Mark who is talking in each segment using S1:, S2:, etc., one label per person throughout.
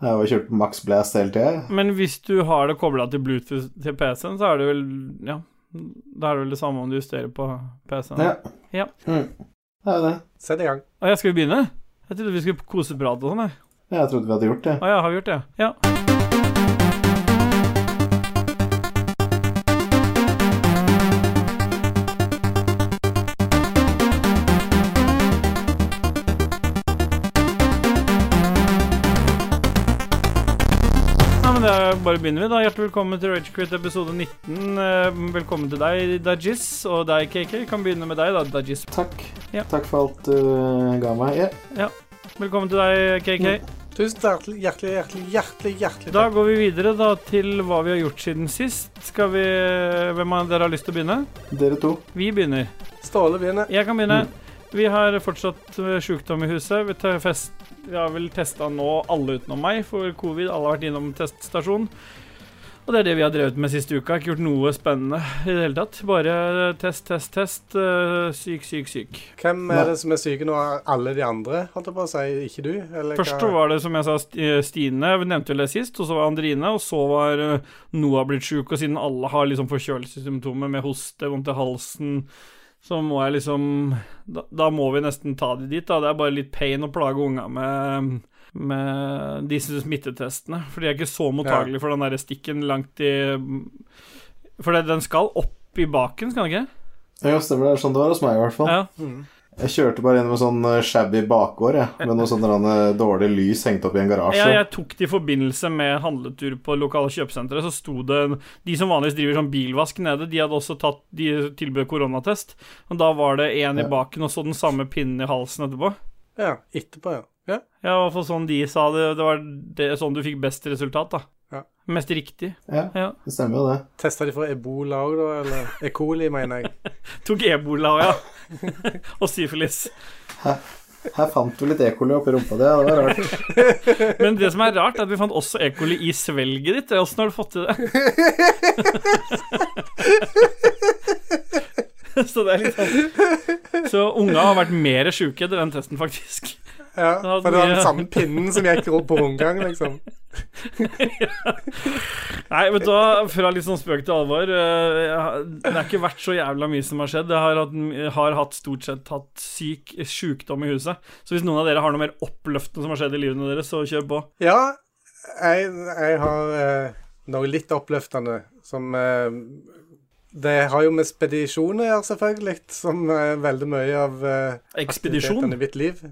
S1: Jeg har kjørt på Max Blast hele tida.
S2: Men hvis du har det kobla til Bluetooth til PC-en, så er det vel Ja. Da er det vel det samme om du justerer på PC-en.
S1: Ja.
S2: Ja.
S1: Mm. Det er jo det.
S3: Sett i gang.
S2: Å ja, skal vi begynne? Jeg trodde vi skulle koseprate og sånn, jeg.
S1: Jeg trodde vi hadde gjort det.
S2: Å ja, har vi gjort det? Ja. Ja, men da bare begynner vi da. Hjertelig velkommen til Ragequit episode 19. Eh, Velkommen til deg, Dajis, og deg, KK. Kan begynne med deg, da, Dajis.
S1: Takk.
S2: Ja.
S1: Takk for alt du eh, ga meg. Ja.
S2: Velkommen til deg, KK.
S3: Tusen hjertelig, hjertelig, hjertelig, hjertelig hjertelig
S2: Da
S3: takk.
S2: går vi videre da til hva vi har gjort siden sist. Skal vi Hvem av dere har lyst til å begynne?
S1: Dere to.
S2: Vi begynner.
S3: Ståle begynner.
S2: Jeg kan begynne. Vi har fortsatt eh, sjukdom i huset. Vi, tar fest, vi har vel testa nå alle utenom meg for covid. Alle har vært innom teststasjon. Og det er det vi har drevet med siste uka. Ikke gjort noe spennende i det hele tatt. Bare test, test, test. eh, Syk, syk, syk.
S3: Hvem er det som er syke nå? Er Alle de andre, holdt jeg på å si. Ikke du? Eller
S2: Først så var det, som jeg sa, St- eh, Stine. Vi nevnte vel det sist. Og så var Andrine. Og så var eh, Noah blitt sjuk. Og siden alle har liksom forkjølelsessymptomer med hoste, vondt i halsen, så må jeg liksom da, da må vi nesten ta de dit, da. Det er bare litt pain å plage unga med med disse smittetestene. For de er ikke så mottagelige for den derre stikken langt i For det- den skal opp i baken, skal den ikke?
S1: Jo, stemmer det. er Sånn det var hos meg, i hvert fall.
S2: Ja.
S3: Mm.
S1: Jeg kjørte bare gjennom en sånn eh, shabby bakgård, jeg. Med noe sånn der, eh, dårlig lys hengt opp i en garasje.
S2: Ja, jeg tok det i forbindelse med handletur på lokale kjøpesenteret. Så sto det De som vanligvis driver sånn bilvask nede, de hadde også tatt De tilbød koronatest. Og da var det én i
S1: Ja.
S2: baken og så den samme pinnen i halsen etterpå.
S3: Ja, etterpå, ja. ja.
S2: Ja, i hvert fall sånn de sa det. Det var det, sånn du fikk best resultat, da.
S3: Ja.
S2: Mest riktig.
S1: Ja,
S2: Ja.
S1: det stemmer jo det.
S3: Testa de for ebola òg, da? Eller E. coli, mener jeg.
S2: Tok ebola òg, ja. og syfilis.
S1: Her fant du litt ekoli oppi rumpa di, ja, det var rart.
S2: Men det som er rart, er at vi fant også E. coli i svelget ditt. Åssen har du fått til det? Så det er litt sånn Så unga har vært mer sjuke etter den testen, faktisk.
S3: Ja,
S2: Da hadde
S3: for det var
S2: vi-
S3: den samme pinnen som gikk ro- på rundgang, liksom.
S2: Nei, vet du hva, fra litt sånn spøk til alvor eh, jeg har- Det har ikke vært så jævla mye som har skjedd. Jeg har hatt, jeg har hatt stort sett hatt syk sjukdom i huset. Så hvis noen av dere har noe mer oppløftende som har skjedd i livene deres, så kjør på.
S3: Ja, jeg, jeg har eh, noe litt oppløftende som eh, Det har jo med spedisjon å gjøre, selvfølgelig, som er veldig mye av eh,
S2: Ekspedisjon.
S3: aktivitetene i mitt liv.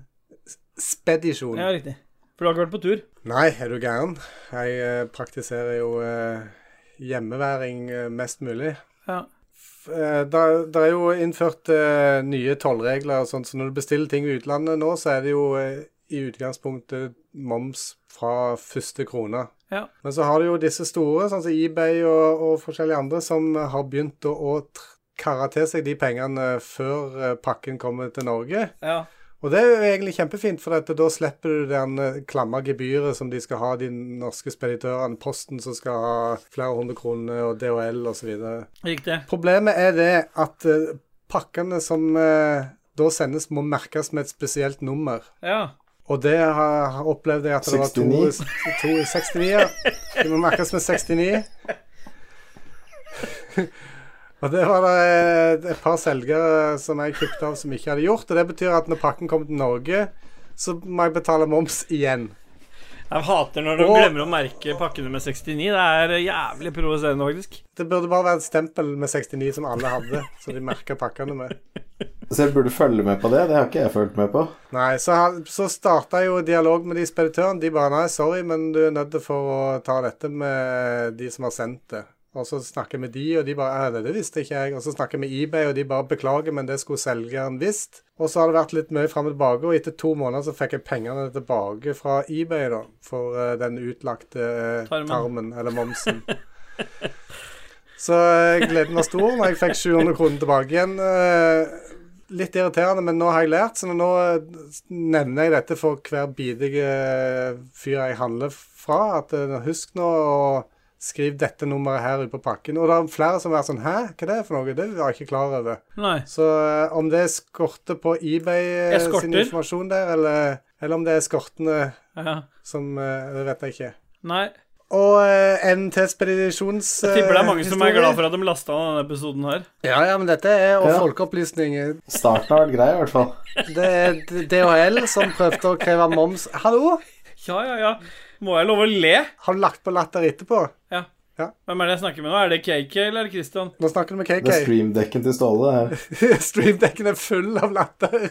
S3: S- Spedisjon.
S2: Ja, riktig. For du har ikke vært på tur?
S3: Nei, er du gæren? Jeg eh, praktiserer jo eh, hjemmeværing eh, mest mulig.
S2: Ja.
S3: F- eh, Det det er jo innført eh, nye tollregler og sånt, så når du bestiller ting i utlandet nå, så er det jo eh, i utgangspunktet moms fra første krone.
S2: Ja.
S3: Men så har du jo disse store, sånn som eBay og, og forskjellige andre, som har begynt å, å tr- karre til seg de pengene før eh, pakken kommer til Norge.
S2: ja.
S3: Og det er jo egentlig kjempefint, for at da slipper du den eh, klamme gebyret som de skal ha, de norske speditørene, Posten som skal ha flere hundre kroner, og DHL osv.
S2: Riktig.
S3: Problemet er det at eh, pakkene som eh, da sendes, må merkes med et spesielt nummer.
S2: Ja.
S3: Og det har, har opplevde jeg at det var to, to 69, ja. De må merkes med 69. Og det var det et- et par selgere som jeg kjøpte av som ikke hadde gjort. Og det betyr at når pakken kommer til Norge, så må jeg betale moms igjen.
S2: Jeg hater når de
S3: Og-
S2: glemmer å merke pakkene med 69. Det er jævlig provoserende, faktisk.
S3: Det burde bare være et stempel med 69 som alle hadde, så de merka pakkene med.
S1: Så jeg burde følge med på det. Det har ikke jeg fulgt med på.
S3: Nei, så, han- så starta jeg jo dialog med de speditørene. De bare nei, sorry, men du er nødt til for å ta dette med eh, de som har sendt det. Og så snakker jeg med de, og de bare «Eh, det, det visste ikke jeg. Og så snakker jeg med eBay, og de bare beklager, men det skulle selgeren visst. Og så har det vært litt mye fram og tilbake, og etter to måneder så fikk jeg pengene tilbake fra eBay, da. For eh, den utlagte eh,
S2: Tarmen.
S3: tarmen, eller momsen. så eh, gleden var stor når jeg fikk 700 kroner tilbake igjen. eh, litt irriterende, men nå har jeg lært, så nå nevner jeg dette for hver bidige fyr jeg handler fra. At eh, husk nå å skrive dette nummeret her ut på pakken. Og det er flere som har vært sånn Hæ, hva er det for noe? Det var jeg ikke klar over.
S2: Nei.
S3: Så eh, om det er skorte på eBay eh,
S2: Eskorter?
S3: sin informasjon der, eller, eller om det er eskortene
S2: Ja.
S3: som eh, Det vet jeg ikke.
S2: Nei.
S3: Og eh, en til ekspedisjons...
S2: Jeg tipper det er mange som er glad
S3: det.
S2: for at de lasta ned denne episoden her.
S3: Ja, ja, men dette er og
S1: Ja.
S3: folkeopplysning.
S1: Starten har vært grei, i hvert fall.
S3: Det er D- DHL som prøvde å kreve moms. Hallo?
S2: Ja, ja, ja. Må jeg love å le?
S3: Har du lagt på latter etterpå?
S2: Ja.
S3: Ja.
S2: Hvem er det jeg snakker med nå? Er det KK eller er det Christian?
S3: Nå snakker du med
S1: Det er
S3: KK.
S1: streamdekken til Ståle. det her.
S3: Streamdekken er full av latter.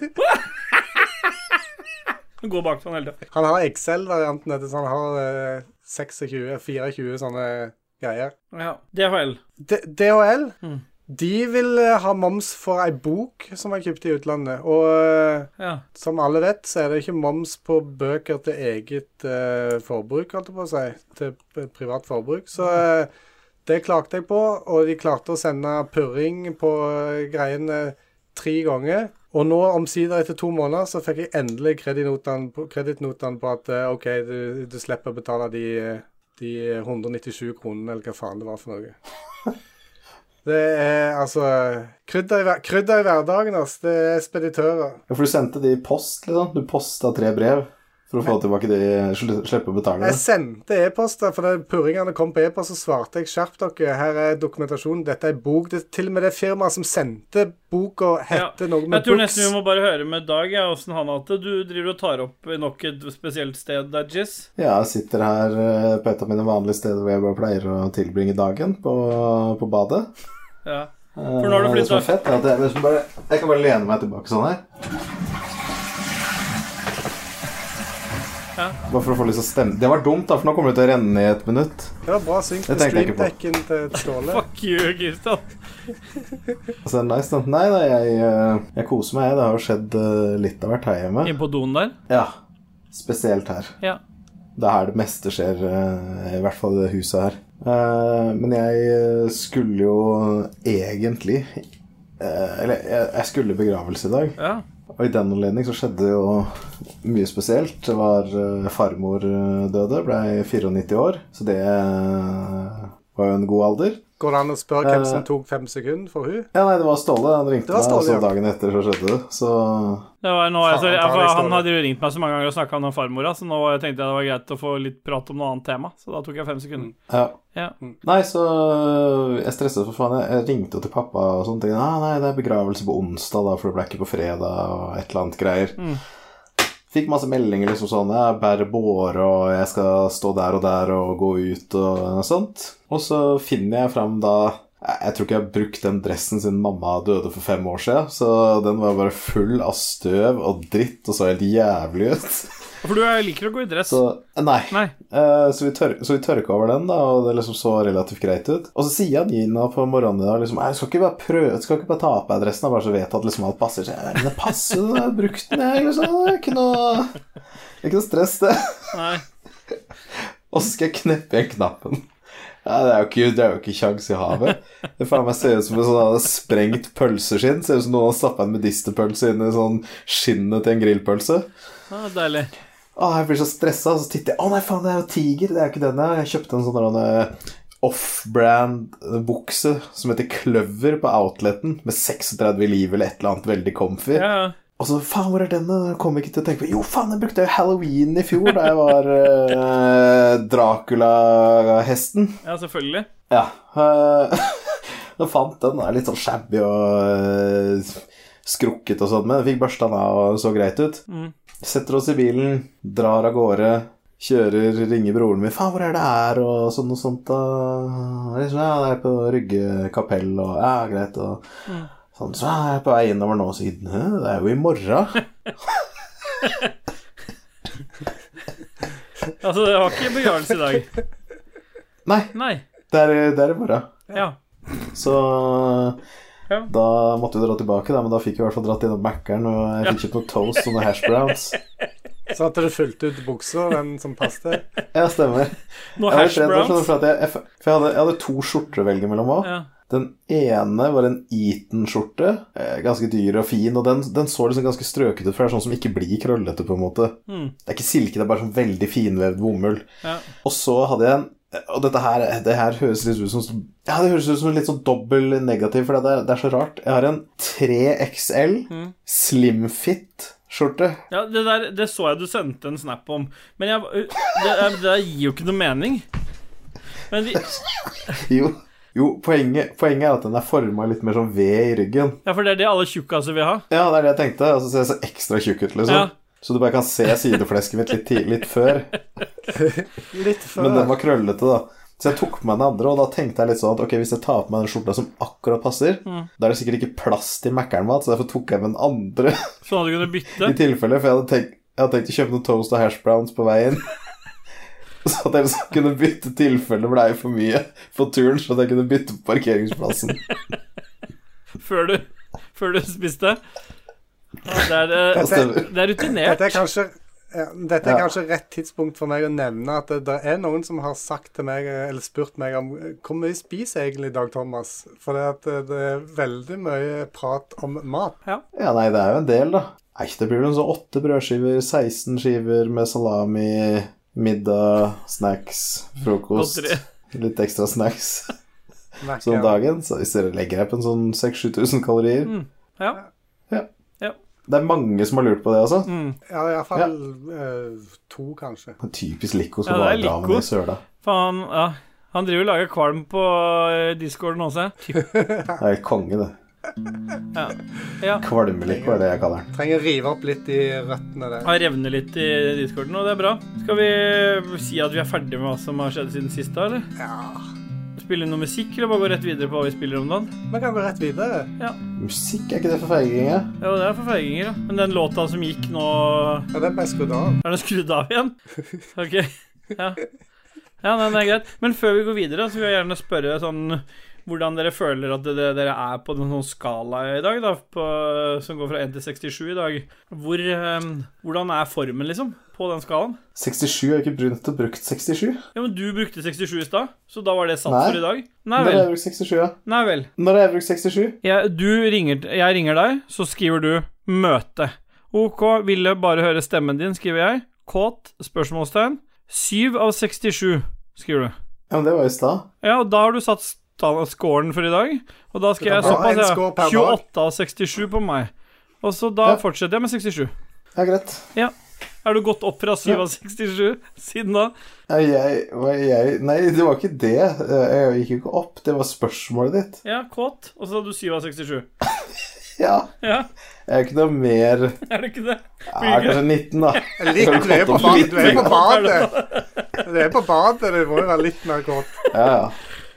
S2: Han går bak til han hele tida.
S3: Han har Excel-varianten dette, så han har eh, 26, 24 sånne greier.
S2: Ja. DHL.
S3: D DHL,
S2: Mm.
S3: de vil eh, ha moms for ei bok som er kjøpt i utlandet. Og eh,
S2: Ja.
S3: som alle vet, så er det ikke moms på bøker til eget eh, forbruk, holdt jeg på å si. Til p- privat forbruk. Så eh, det klagde jeg på, og de klarte å sende purring på eh, greiene tre ganger. Og nå, omsider etter to måneder, så fikk jeg endelig kredittnotene på, kredittnotene på at eh, OK, du, du slipper å betale de, eh, de 197 kronene, eller hva faen det var for noe. Det er altså Krydder i, hver- krydder i hverdagen, altså. Det er speditører.
S1: Ja, For du sendte de i post, liksom. Du posta tre brev for å få tilbake de sl- Slippe å betale
S3: Jeg
S1: det.
S3: sendte e-poster, for det purringene kom på e-post, så svarte jeg skjerp dere, her er dokumentasjonen, dette er bok. Det, til og med det firmaet som sendte boka, hette noe
S2: Jeg
S3: med
S2: tror
S3: books.
S2: nesten vi må bare høre med Dag ja, åssen han har hatt det. Du driver og tar opp nok et spesielt sted der, Jizz.
S1: Ja, jeg sitter her eh, på et av mine vanlige steder hvor jeg bare pleier å tilbringe dagen, på, på badet.
S2: Ja.
S1: For
S2: nå har du
S1: Det som er
S2: flyttet.
S1: fett, er at jeg, liksom bare, jeg kan bare lene meg tilbake sånn her.
S2: Ja.
S1: Bare for å få litt sånn stemme Det var dumt, da, for nå kommer det til å renne i et minutt.
S3: Det var bra synk
S1: Det
S3: med
S1: tenkte jeg ikke på.
S3: streamdekken til Ståle.
S2: Fuck you, Christian.
S1: Altså, det er nice, da. Nei da, jeg, eh, jeg koser meg. jeg. Det har jo skjedd eh, litt av hvert her hjemme.
S2: Inn på doen der?
S1: Ja. Spesielt her.
S2: Ja.
S1: Det er her det meste skjer, eh, i hvert fall i det huset her. Eh, Men jeg eh, skulle jo egentlig eh, Eller jeg jeg skulle i begravelse i dag.
S2: ja.
S1: Og i den anledning så skjedde jo mye spesielt. Det var eh, farmor eh, døde, blei 94 år. Så det eh, var jo en god alder.
S3: Går det an å spørre hvem
S1: Eh.
S3: som tok fem sekunder for hun?
S1: Ja, nei, det var Ståle. Han ringte
S3: Det var
S1: meg, og
S3: Ståle,
S1: så
S3: ja.
S1: dagen etter så skjedde det. Så
S2: Det var nå, jeg, så,
S3: Faen,
S2: jeg,
S3: ta deg i
S2: for,
S3: stålet.
S2: han hadde jo ringt meg så mange ganger og snakka om den farmora, så nå var- tenkte jeg det var greit å få litt prat om noe annet tema. Så da tok jeg fem sekunder.
S1: ja.
S3: Mm.
S2: Ja.
S1: Nei, så øh, jeg stresset for faen. Jeg- Jeg ringte jo til pappa og sånn. Tenkte nei, nei, det er begravelse på onsdag, da, for det ble ikke på fredag, og et eller annet greier. Fikk masse meldinger liksom sånn Jeg bærer båre, og jeg skal stå der og der og gå ut og sånt. Og så finner jeg fram da jeg jeg tror ikke jeg har brukt den dressen siden mamma døde for fem år siden, så den var bare full av støv og dritt og så helt jævlig ut.
S2: For du jeg liker å gå i dress.
S1: Så nei.
S2: Nei.
S1: Eh, så, vi tør, så vi tørka over den, da, og det liksom så relativt greit ut. Og så sier Nina på morgenen i dag liksom «Nei, skal ikke bare prøve, skal ikke bare ta på meg dressen, da, bare så jeg vet at liksom alt passer. Så jeg, «Nei, men det passer, jo, jeg har brukt den, jeg, liksom. Det er ikke noe, det er ikke noe stress, det.
S2: Nei.
S1: Og så skal jeg kneppe igjen knappen. Ja, det er jo ikke, det er jo ikke kjangs i havet. Det faen meg ser ut som en sånn hadde sprengt pølseskinn. Ser ut som noen har stappa en medisterpølse inn i sånn skinnet til en grillpølse.
S2: Ja, deilig.
S1: Å, jeg blir så stressa, og så titter jeg Å nei, faen, det er jo Tiger. Det er jo ikke den jeg har. Jeg kjøpte en sånn der, eh, off-brand eh, bukse som heter Kløver på Outleten, med 36 liv eller et eller annet veldig comfy.
S2: Ja, ja.
S1: Og så faen, hvor er denne? Jeg kom ikke til å tenke på Jo, faen, jeg brukte jo halloween i fjor da jeg var eh, Dracula-hesten.
S2: ja, selvfølgelig.
S1: Ja. eh, Jeg fant den. Den er litt sånn shabby og eh, skrukket og sånn, men jeg fikk børsta den av og så greit ut.
S2: Mm.
S1: Setter oss i bilen, drar av gårde, kjører, ringer broren min 'Faen, hvor er det her?' og sånn og sånt. Og liksom, ja, det er på Rygge kapell, og ja, greit, og sånn. Så er jeg på vei innover nå og sier «Hæ, 'Det er jo i morgen'.
S2: Altså, det var ikke begravelse i dag.
S1: Nei,
S2: Nei.
S1: det er, det er i morgen.
S2: Ja.
S1: Så
S2: Ja.
S1: da måtte vi dra tilbake, da, men da fikk vi i hvert fall dratt innom Mækkern, og jeg fikk kjøpt noe toast og noe hash browns.
S3: Sånn at du fulgte ut buksa, den som passet.
S1: Ja, stemmer.
S2: Noe
S1: Jeg, var
S2: hash
S1: litt redd for sånn,
S2: browns.
S1: for at jeg, jeg, for jeg, hadde, jeg hadde to skjorter å velge mellom òg.
S2: Ja.
S1: Den ene var en Eton-skjorte. eh, Ganske dyr og fin, og den, den så liksom ganske strøket ut, for det er sånn som ikke blir krøllete, på en måte.
S2: Mm.
S1: Det er ikke silke, det er bare sånn veldig finvevd bomull.
S2: Ja.
S1: Og så hadde jeg en Og dette her, det her høres litt ut som Ja, det høres ut som en litt sånn dobbel negativ, for det er, det er så rart. Jeg har en 3XL
S2: Mm.
S1: slimfit skjorte.
S2: Ja, det der det så jeg du sendte en snap om, men jeg, det, det der gir jo ikke noe mening. Men de,
S1: Jo, jo poenget, poenget er at den er forma litt mer sånn ved i ryggen.
S2: ja, for det er det alle tjukkaser vil ha.
S1: Ja, det er det jeg tenkte. Og så ser jeg så ekstra tjukk ut, liksom.
S2: Ja.
S1: Så du bare kan se sideflesket mitt litt, ti- litt før.
S3: Litt før.
S1: Men den var krøllete, da. Så jeg tok på meg den andre, og da tenkte jeg litt sånn at ok, hvis jeg tar på meg den skjorta som akkurat passer,
S2: Mm.
S1: da er det sikkert ikke plass til Mækkern mat, så derfor tok jeg med den andre
S2: Sånn at du kunne bytte.
S1: i tilfelle, for jeg hadde tenkt, jeg hadde tenkt å kjøpe noen toast og hash browns på veien. Så at jeg liksom kunne bytte tilfelle ble for mye på turen, så at jeg kunne bytte på parkeringsplassen.
S2: før du, før du spiste. Ja, Det er, eh,
S1: Det stemmer.
S2: det er rutinert.
S3: Dette er kanskje ja, dette er
S1: Ja.
S3: kanskje rett tidspunkt for meg å nevne at det, det er noen som har sagt til meg, eh, eller spurt meg om eh, hvor mye spiser jeg egentlig i dag, Thomas? For det, at eh, det er veldig mye prat om mat.
S1: Ja, nei, det er jo en del, da. Nei, det blir vel sånn åtte brødskiver, 16 skiver med salami, middag, snacks, frokost.
S2: Godteri.
S1: Litt ekstra snacks
S3: merker
S1: sånn
S3: jeg.
S1: dagen. Så hvis dere legger deg på en sånn 6000-7000 kalorier
S2: Mm. Ja.
S1: Det er mange som har lurt på det, altså.
S2: Mm.
S3: Ja, iallfall eh, to, kanskje.
S1: Det er Typisk Lico som
S2: Ja,
S1: bare
S2: det er
S1: drar med
S2: Lico.
S1: det i søla.
S2: Faen, ja. Han driver og lager kvalm på eh, discorden også. Typ.
S1: Det er helt konge, det.
S2: Ja. Ja.
S1: Kvalmelico er det jeg kaller den.
S3: Trenger å rive opp litt i røttene der.
S2: Han revner litt i discorden, og det er bra. Skal vi si at vi er ferdige med hva som har skjedd siden sist, da, eller?
S3: Ja.
S2: Spille noe musikk, eller bare gå rett videre på hva vi spiller om dagen?
S3: Vi kan gå rett videre.
S1: Musikk, er ikke det for feiginger?
S2: Ja, det er for feiginger, da. Men den låta som gikk nå
S3: Ja, den ble skrudd av.
S2: Er den skrudd av igjen? Ok. Ja, ja nei, det er greit. Men før vi går videre, så vil jeg gjerne spørre sånn hvordan dere føler at det, det, dere er på den sånn skala i dag, da, på, som går fra 1 til 67 i dag. Hvor, eh, hvordan er formen, liksom, på den skalaen?
S1: 67 har jo ikke brunt og brukt 67.
S2: Ja, men du brukte 67 i stad, så da var det satt
S1: Nei.
S2: for i dag. Nei
S1: Når har
S2: vel.
S1: jeg brukt 67, ja?
S2: Nei vel.
S1: Når har jeg brukt 67?
S2: Jeg, du ringer, jeg ringer deg, så skriver du 'møte'. OK, ville bare høre stemmen din, skriver jeg. Kåt? Spørsmålstegn. 7 av 67, skriver du.
S1: Ja, men det var i stad.
S2: Ja, og da har du satt sta- scoren for i dag, og da skal jeg
S3: Du kan ha en
S2: såpass, ja.
S3: score per dag.
S2: 28 av 67 på meg. Og så da
S1: Ja.
S2: fortsetter jeg med 67.
S1: Ja, greit.
S2: Er du gått opp fra 7
S1: Ja.
S2: av 67 siden da?
S1: Ja, Jeg, hva er jeg Nei, det var ikke det. Jeg gikk jo ikke opp. Det var spørsmålet ditt.
S2: Ja, kåt, og så er du 7 av 67.
S1: Ja.
S2: Ja,
S1: Jeg er ikke noe mer Jeg
S2: er det ikke det?
S1: er kanskje 19, da.
S3: Ligg, du er på
S1: Har du
S3: badet. Du er
S1: fått
S3: på
S1: opp litt?
S3: badet. Du er på badet, det må jo være litt mer kort.
S1: Ja, ja.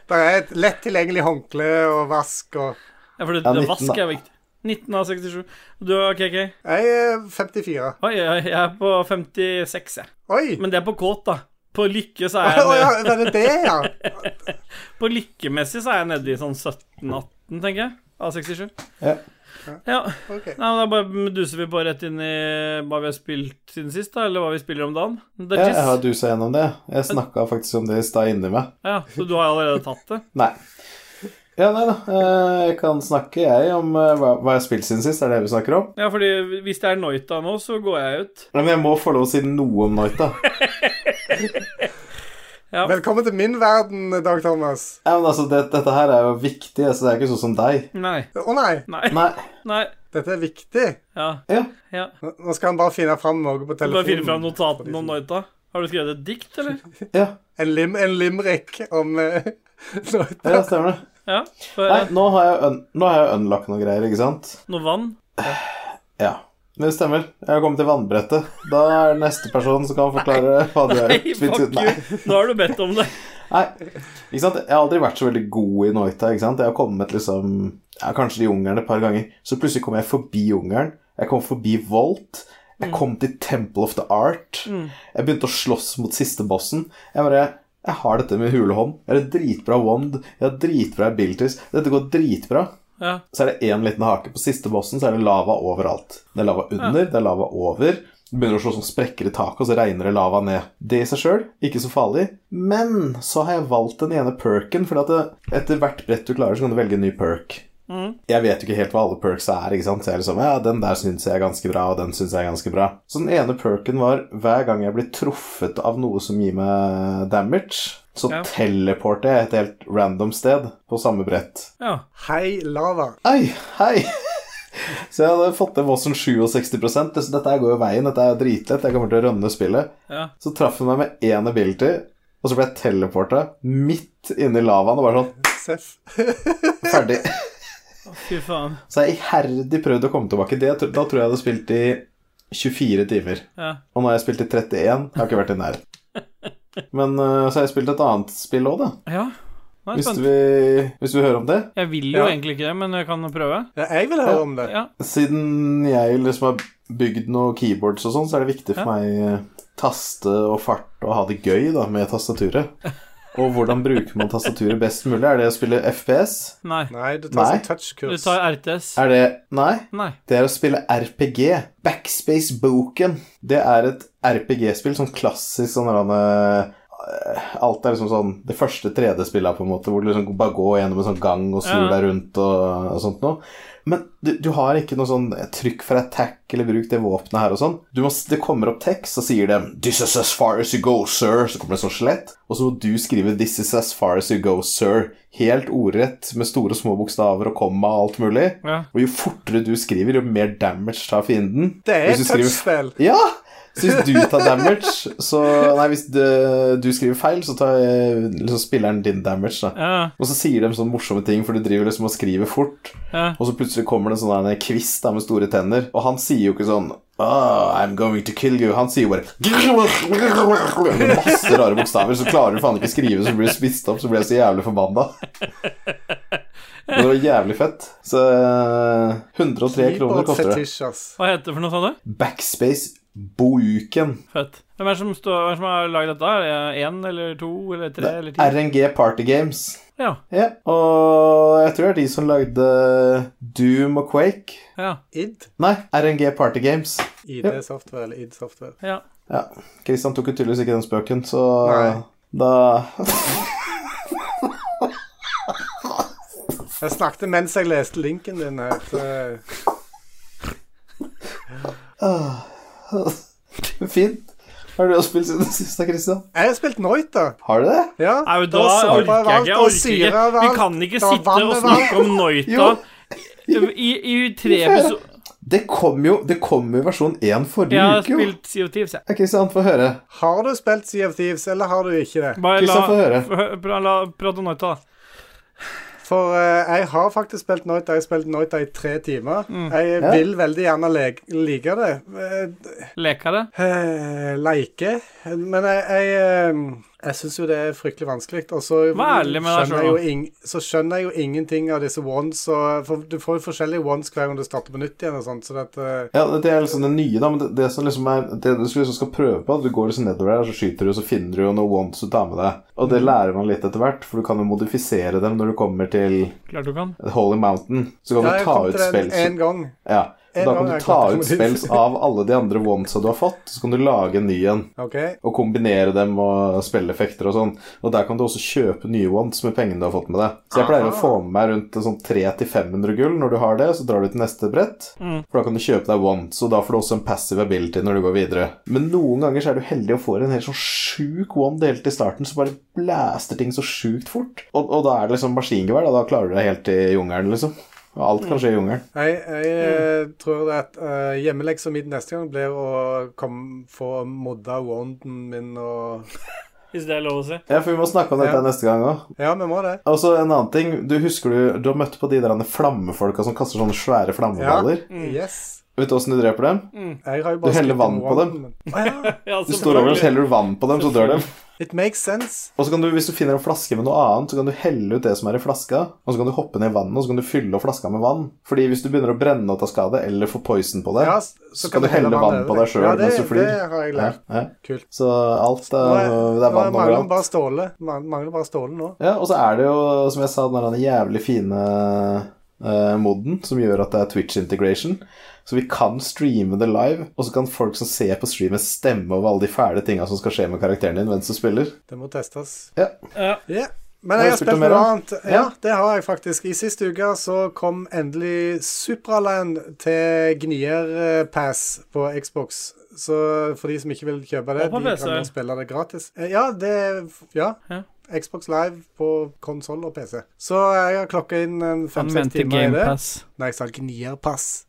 S3: Det er et lett tilgjengelig håndkle og vask og
S2: Ja, for det,
S1: Ja,
S2: det
S1: 19
S2: vask
S1: da.
S2: er viktig. 19 av 67. Du er OK, OK.
S3: Jeg er 54.
S2: Oi, jeg, jeg er på 56, jeg.
S3: Oi!
S2: Men det er på kåt, da. På lykke så
S3: Å
S2: er jeg
S3: ja,
S2: ned-
S3: var det det, ja?
S2: På lykkemessig så er jeg nede i sånn 17-18, tenker jeg. Av 67.
S1: Ja.
S2: ja.
S3: Ok.
S2: Nei, men Da bare duser vi bare rett inn i hva vi har spilt siden sist, da, eller hva vi spiller om dagen. Det
S1: Ja,
S2: er
S1: jeg har
S2: jizz.
S1: dusa gjennom det. Jeg snakka faktisk om det i stad inni meg.
S2: Ja, så du har allerede tatt det?
S1: Nei. Ja, nei da. Eh, Jeg kan snakke, jeg, om eh, hva hva jeg har spilt siden sist. Det er det vi snakker om.
S2: Ja, fordi hvis det er Noita nå, så går jeg ut.
S1: Men jeg må få lov å si noe om Noita.
S3: Velkommen til min verden, Dag Thomas.
S1: Ja, men altså, det, dette her er jo viktig, så det er ikke sånn som deg.
S2: Nei.
S3: Å nei,
S2: Nei.
S1: Nei.
S2: Nei.
S3: dette er viktig.
S2: Ja.
S1: Ja.
S2: ja.
S3: Nå- Nå skal han bare finne fram noe på
S2: Du bare finne fram
S3: telefonen.
S2: notatene om Noita. Har du skrevet et dikt, eller?
S1: Ja,
S3: En, lim, en limerick om eh,
S1: ja stemmer det.
S2: Ja. Få
S1: Nei,
S2: høre.
S1: nå har jeg, un nå har jeg unlocket noen greier, ikke sant?
S2: Noe vann?
S1: Ja. Det stemmer. Jeg har kommet til vannbrettet. Da er det neste person som kan forklare hva de har
S2: Nei,
S1: gjort.
S2: fuck
S1: Nei.
S2: you. Nå har du bedt om det.
S1: Nei. Ikke sant? Jeg har aldri vært så veldig god i Noita. Ikke sant? Jeg har kommet liksom ja, Kanskje de ungarne et par ganger. Så plutselig kom jeg forbi Ungarn. Jeg kom forbi Volt. Jeg kom til Temple of the Art. Jeg begynte å slåss mot siste bossen. Jeg bare Jeg har dette med hulehånd. Jeg har en dritbra wand. Jeg har dritbra abilities. Dette går dritbra.
S2: Ja.
S1: Så er det én liten hake. På siste bossen så er det lava overalt. Det er lava under, det er lava over. Det begynner å slå sånn sprekker i taket, og så regner det lava ned. Det i seg sjøl, ikke så farlig. Men så har jeg valgt den ene perken, for at det, etter hvert brett du klarer, så kan du velge en ny perk. Jeg vet jo ikke helt hva alle perks er, ikke sant. Så jeg er liksom, ja, den der syns jeg er ganske bra, og den syns jeg er ganske bra. Så den ene perken var hver gang jeg blir truffet av noe som gir meg damage, så
S2: Ja.
S1: teleporter jeg et helt random sted på samme brett.
S2: ja.
S3: Hei, lava.
S1: Ei, hei! Så jeg hadde fått til Vossen 67 så Dette her går jo veien, dette er jo dritlett. Jeg kommer til å rønne spillet.
S2: Ja.
S1: Så traff hun meg med én ability, og så ble jeg teleporta midt inni lavaen og bare sånn
S3: Seff.
S1: ferdig.
S2: Fy faen.
S1: Så jeg har iherdig prøvd å komme tilbake. Det, da tror jeg jeg hadde spilt i 24 timer.
S2: Ja.
S1: Og nå har jeg spilt i 31. Jeg har ikke vært i nærheten. Men øh, så har jeg spilt et annet spill òg, da.
S2: ja. Nei,
S1: Hvis
S2: spent.
S1: vi, hvis vi hører om det.
S2: Jeg vil jo
S3: Ja.
S2: egentlig ikke det, men jeg kan prøve.
S3: Ja, jeg vil høre om det.
S2: Ja.
S1: Siden jeg liksom har bygd noen keyboards og sånn, så er det viktig for
S2: Ja.
S1: meg eh, taste og fart og ha det gøy da med tastaturet. Og hvordan bruker man tastaturet best mulig? Er det å spille FPS?
S2: Nei.
S3: Nei, du tar
S1: Nei.
S3: sånn
S2: Du
S3: touchkurs.
S2: tar RTS.
S1: Er det Nei.
S2: Nei.
S1: Det er å spille RPG. Backspace Boken. Det er et RPG-spill, sånn klassisk sånn eller annet, eh, Alt er liksom sånn Det første 3D-spillet, på en måte, hvor du liksom bare går gjennom en sånn gang og snur
S2: Ja.
S1: deg rundt og, og sånt noe. Men du, du har ikke noe sånn trykk for attack eller bruk det våpenet her og sånn. Du må, det kommer opp tekst, så sier de 'This is as far as you go, sir', så kommer det sånn skjelett. Og så må du skrive 'This is as far as you go, sir', helt ordrett med store og små bokstaver og komma og alt mulig.
S2: Ja.
S1: Og jo fortere du skriver, jo mer damage tar fienden.
S3: Det er
S1: Hvis
S3: et
S1: du skriver-
S3: touchspill.
S1: Ja! Så hvis du tar damage, så Nei, hvis du, du skriver feil, så tar eh, liksom spilleren din damage, da.
S2: Ja.
S1: Og så sier de sånne morsomme ting, for du driver liksom og skriver fort.
S2: Ja.
S1: Og så plutselig kommer det en sånn der kvist da, med store tenner, og han sier jo ikke sånn «Ah, I'm going to kill you. Han sier jo bare Med masse rare bokstaver, så klarer du faen ikke skrive, så blir du spist opp, så blir jeg så jævlig forbanna. Men det var jævlig fett. Så eh, 103 kroner koster det.
S3: Keyboard-fetisj, ass.
S2: Hva heter det for noe, sa du?
S1: Backspace Bouken.
S2: Fett. Hvem er det som, står, hvem er det som har lagd dette? Er det én eller to eller tre eller ti?
S1: RNG Party Games.
S2: Ja.
S1: Ja, og jeg tror det er de som lagde Doom og Quake.
S2: Ja.
S3: ID.
S1: Nei, RNG Party Games.
S3: ID software eller ID software.
S2: ja.
S1: Ja. Christian tok jo tydeligvis ikke den spøken, så
S3: Nei.
S1: da
S3: Jeg snakket mens jeg leste linken din her. så- eh.
S1: Fint. Har du også spilt siden sist, da, Christian?
S3: Jeg har spilt Noit, da.
S1: Har du det?
S3: Ja.
S2: Nei, men da
S3: Det
S2: orker jeg
S3: var såpa
S2: ikke.
S3: overalt,
S2: Jeg
S3: og
S2: orker
S3: syre
S2: ikke. Vi
S3: overalt.
S2: kan ikke
S3: Det var
S2: sitte
S3: vann
S2: og
S3: overalt.
S2: snakke om Noita
S1: Jo.
S2: i, i tre
S1: Hvorfor?
S2: episoder
S1: Det kom jo det kom jo i versjon 1 forrige
S2: Jeg har
S1: uke, jo.
S2: spilt CO Thieves, jeg.
S1: Ja, Christian, få høre.
S3: Har du spilt Sea of Thieves, eller har du ikke det?
S2: Bare la,
S1: Kristian, få høre.
S2: hø- bra, la prate om Noita, da.
S3: For eh, jeg har faktisk spilt Noita. Jeg har spilt Noita i tre timer.
S2: Mm.
S3: Jeg
S1: Ja.
S3: vil veldig gjerne le- like det. Eh,
S2: Leka det.
S3: Eh, Leike. Men jeg, jeg, eh, jeg syns jo det er fryktelig vanskelig. Og så
S2: Vær ærlig med deg
S3: skjønner jeg
S2: selv,
S3: jo
S2: da.
S3: ing- så skjønner jeg jo ingenting av disse ones. Og, for du får jo forskjellige ones hver gang du starter på nytt igjen og sånt. Så det, eh,
S1: Ja, det er liksom det nye, da, men det, det som liksom er Det du liksom skal prøve på, at du går liksom nedover der, og så skyter du, og så finner du jo noe once du tar med deg. Og
S3: Mm.
S1: det lærer man litt etter hvert, for du kan jo modifisere dem når du kommer til
S2: Klart du kan.
S1: Holy Mountain. Så kan
S3: ja, jeg
S1: du ta
S3: kom
S1: ut
S3: til den
S1: spells.
S3: én gang.
S1: Ja.
S3: En
S1: Da
S3: gang
S1: kan
S3: har
S1: du
S3: jeg
S1: ta
S3: klart å
S1: ut spells
S3: modifisere.
S1: av alle de andre onesa du har fått, så kan du lage en ny en.
S3: OK.
S1: og kombinere dem og spilleffekter og sånn. Og der kan du også kjøpe nye ones med pengene du har fått med deg. Så jeg pleier å få med meg rundt sånn 300-500 gull når du har det, så drar du til neste brett. For da kan du kjøpe deg ones, og da får du også en passive ability når du går videre. Men noen ganger så er du heldig og får en helt sånn sjuk one delt i starten som bare blaster ting så sjukt fort. Og, og da er det liksom maskingevær, da. Da klarer du deg helt i jungelen, liksom. Og alt kan skje i jungelen.
S3: Jeg, jeg eh, tror det at uh, hjemmeleksa mi neste gang blir å kom, få modda wonden min og
S2: Hvis det er lov å si.
S1: Ja, for vi må snakke om dette
S3: Ja.
S1: neste gang òg.
S3: Ja, vi må det.
S1: Og så en annen ting, du husker du, du har møtt på de der flammefolka som kaster sånne svære
S3: Ja.
S1: flammeballer?
S3: Yes.
S1: Vet du åssen du dreper dem?
S3: Jeg har jo
S1: Du
S3: bare
S1: heller
S3: skutt
S1: vann
S3: med
S1: på dem.
S3: wonden min. Å ja.
S2: Ja,
S1: Du står over og heller du vann på dem, så dør de.
S3: It makes sense.
S1: Og så kan du, hvis du finner en flaske med noe annet, så kan du helle ut det som er i flaska, og så kan du hoppe ned i vannet, og så kan du fylle opp flaska med vann. Fordi hvis du begynner å brenne og ta skade, eller få poison på deg,
S3: Ja, s-
S1: så kan du helle vann
S3: over
S1: på deg sjøl
S3: Ja, det,
S1: mens du flyr.
S3: Det har jeg
S1: Ja,
S3: lært.
S1: ja.
S3: Kult.
S1: Så alt
S3: Nå
S1: er, det
S3: er, nå
S1: er vann
S3: mangler vi
S1: overalt.
S3: bare Ståle. Man- Mangler bare Ståle nå.
S1: Ja, og så er det jo, som jeg sa, den der jævlig fine eh, moden som gjør at det er Twitch integration. Så vi kan streame det live, og så kan folk som ser på streamen, stemme over alle de fæle tinga som skal skje med karakteren din mens du spiller.
S3: Det må testes.
S1: Ja.
S2: Ja.
S3: Ja. Men jeg har spilt
S1: mer,
S3: noe
S1: da?
S3: annet. Ja, det har jeg faktisk. I siste uke så kom endelig Supraland til Gnier eh, Pass på Xbox. Så for de som ikke vil kjøpe det,
S2: Og på
S3: de
S2: PC.
S3: kan nå spille det gratis. Eh, Ja, det Ja.
S2: Ja.
S3: Xbox Live på konsoll og PC. Så jeg har klokka inn en
S2: Han
S3: fem-seks
S2: mente
S3: timer i det.
S2: GamePass.
S3: Nei, jeg sa Gnierpass.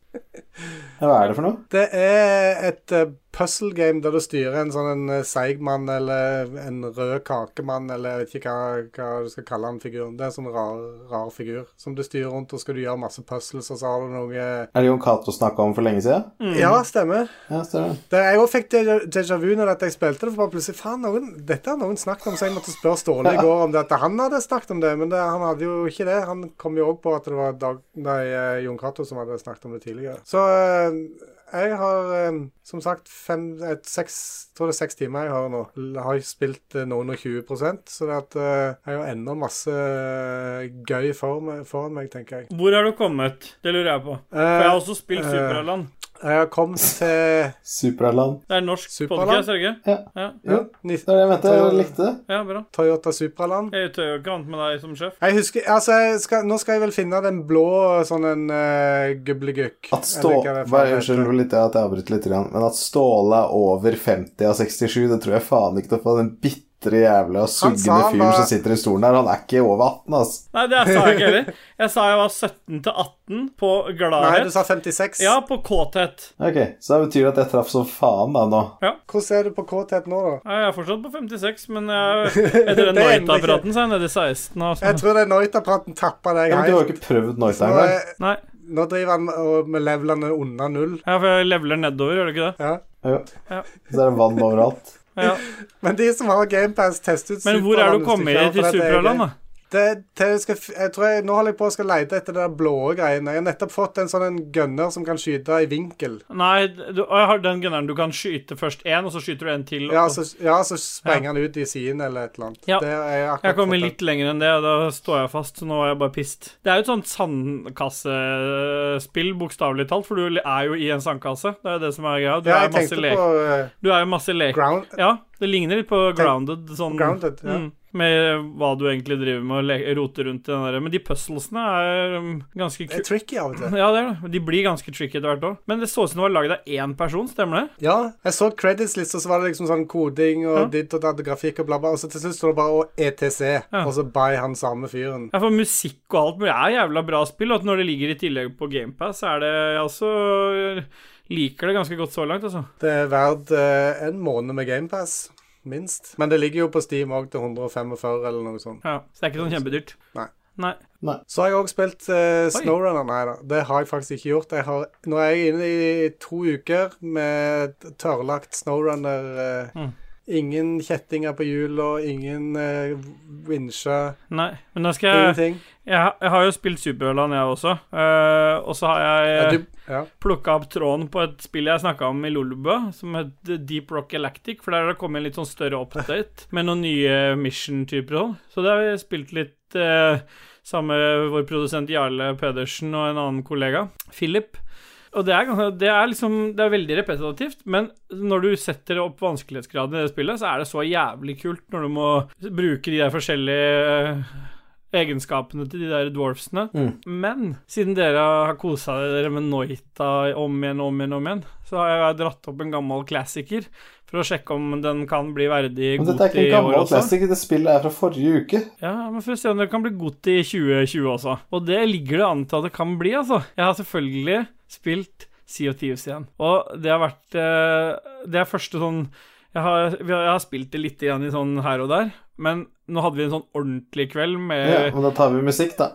S1: Hva er det for noe?
S3: Det er et eh, puzzle game der du styrer en sånn en eh, seig mann eller en rød kakemann, eller jeg vet ikke hva, hva du skal kalle han figuren. Det er en sånn rar, rar figur som du styrer rundt, og skal du gjøre masse puzzles, og så har du noe eh,
S1: Er det Jon Cato snakka om for lenge siden?
S3: Ja, stemmer.
S1: Ja, stemmer.
S3: Det, jeg òg fikk déjà déjà vu når dette jeg spilte det, for bare plutselig Faen, noen, dette har noen snakket om, så jeg måtte spørre Ståle i går om det, at han hadde snakket om det, men det, han hadde jo ikke det. Han kom jo òg på at det var Dag, nei, eh, Jon Cato som hadde snakket om det tidligere. Så eh, jeg har eh, som sagt fem, et, seks, tror det er seks timer jeg har nå. L- Har jeg spilt eh, noen og 20 så det at, eh, jeg har ennå masse eh, gøy for meg, foran meg, tenker jeg.
S2: Hvor har du kommet? Det lurer jeg på. For jeg har også spilt
S3: eh,
S2: Superland.
S3: Jeg har kommet til
S1: Superland.
S2: Det er en norsk
S3: Superland?
S2: podcast, er det ikke?
S1: Ja.
S2: Ja,
S3: ja,
S1: Jo,
S3: ni-
S1: det var det jeg mente. Jeg likte det.
S2: ja bra.
S3: Toyota Supraland.
S2: Jeg tør jo ikke annet med deg som sjef.
S3: Jeg husker, altså, jeg skal, Nå skal jeg vel finne den blå sånn en uh, gublegukk.
S1: At Stå...
S3: Eller hva det er for
S1: Bare,
S3: noe
S1: unnskyld
S3: heter.
S1: litt at jeg avbryter litt, grann, men at Ståle er over 50 av 67, det tror jeg faen ikke noe på. Den bitre jævla
S3: sa
S1: suggende
S3: han
S1: fyren
S3: var-
S1: som sitter i stolen her, han er ikke over 18, ass.
S2: Nei, det sa jeg ikke heller. Jeg sa jeg var 17 til 18 på
S3: Nei, du
S2: gladhet.
S3: sa 56.
S2: Ja, på kåthet.
S1: Ok, så det betyr at jeg traff som faen da nå.
S3: Hvordan er du på kåthet nå, da?
S2: Nei, Jeg er fortsatt på 56, men jeg, etter den
S3: Det ender ikke.
S2: Noita-praten så er jeg nede i 16. Altså.
S3: Jeg tror den Noita-praten tappa deg
S1: Ja, men du har
S3: helt.
S1: jo ikke prøvd Noita
S3: Nå,
S1: engang.
S3: er-
S2: Nei,
S3: nå driver han og- med levelene unna null.
S2: ja, for jeg leveler nedover, gjør det ikke det?
S3: Ja.
S1: Jo.
S2: Ja.
S1: Så er det vann overalt.
S2: Ja.
S3: Men de som har GamePass, test ut
S2: Men hvor er
S3: Supraland
S2: du
S3: hvis
S2: kommet
S3: ikke har,
S2: til
S3: for det er
S2: Superland,
S3: gøy.
S2: da?
S3: Det, til jeg, skal, f- jeg tror jeg, Nå holder jeg på å skal lete etter de blå greiene. Jeg har nettopp fått en sånn en gunner som kan skyte i vinkel.
S2: Nei, du, jeg har den gunneren du kan skyte først én, og så skyter du en til.
S3: Ja,
S2: og-
S3: så, ja, så sprenger han ut i siden eller et eller annet.
S2: Ja.
S3: Det er akkurat sånn.
S2: Jeg kommer
S3: fått den.
S2: litt lenger enn det, og da står jeg fast, så nå er jeg bare pissed. Det er jo et sånt sandkassespill, bokstavelig talt, for du er jo i en sandkasse. Det er jo det som er greia. Du,
S3: Ja,
S2: er,
S3: jeg
S2: masse
S3: tenkte
S2: lek.
S3: på eh,
S2: du er jo masse lek.
S3: ground,
S2: Ja, det ligner litt på Grounded. Sånn,
S3: Grounded, ja.
S2: mm, med hva du egentlig driver med og le- roter rundt i den der. Men de puzzlesene er um, ganske
S3: Det er
S2: kule.
S3: tricky av og til.
S2: Ja, det er det. De blir ganske tricky etter hvert år. Men det så ut som det var lagd av én person, stemmer det?
S3: Ja, jeg så credits-lista, så var det liksom sånn koding og
S2: Ja.
S3: ditt og datt og grafikk og bla, bla, og så til slutt står det bare og ETC,
S2: Ja.
S3: og så by han samme fyren.
S2: Ja, for musikk og alt mulig er jævla bra spill, og at når det ligger i tillegg på GamePass, er det Jeg også liker det ganske godt så langt, altså.
S3: Det er verdt eh, en måned med GamePass, minst. Men det ligger jo på Steam òg til 145 eller noe sånt.
S2: Ja, så det er ikke sånn kjempedyrt.
S3: Nei.
S2: Nei.
S3: Så har jeg òg spilt eh, Snowrunner. Nei da, det har jeg faktisk ikke gjort. Jeg har, nå er jeg inne i to uker med tørrlagt Snowrunner. eh,
S2: Mm.
S3: Ingen kjettinger på hjul og ingen eh, vinsjer.
S2: Nei. Men da skal jeg
S3: Ingenting.
S2: Jeg, har- jeg har jo spilt Superland, jeg også. Eh, og så har
S3: Ja,
S2: jeg
S3: du, ja.
S2: plukka opp tråden på et spill jeg snakka om i Lolbø, som het Deep Rock Galactic. For der har det kommet en litt sånn større update med noen nye mission-typer og sånn. Så det har vi spilt litt eh, sammen med vår produsent Jarle Pedersen og en annen kollega, Philip. Og det er, ganske- det er liksom Det er veldig repetitivt, men når du setter opp vanskelighetsgraden i det spillet, så er det så jævlig kult når du må bruke de der forskjellige eh, egenskapene til de der dwarfsene.
S1: Mm.
S2: Men siden dere har kosa dere med Noita om igjen om igjen, om igjen, så har jeg dratt opp en gammel klassiker for å sjekke om den kan bli verdig
S1: Men dette er
S2: god
S1: ikke
S2: i
S1: en
S2: år
S1: gammel
S2: også.
S1: plastikk, det spillet er fra forrige uke.
S2: Ja, men for å se om det kan bli godt i 2020 også. Og det ligger det an til at det kan bli, altså. Jeg har selvfølgelig spilt Sea of Thieves igjen. Og det har vært eh, Det er første sånn jeg har, vi har- jeg har spilt det litt igjen i sånn her og der, men nå hadde vi en sånn ordentlig kveld med
S1: Ja, men da tar vi musikk, da.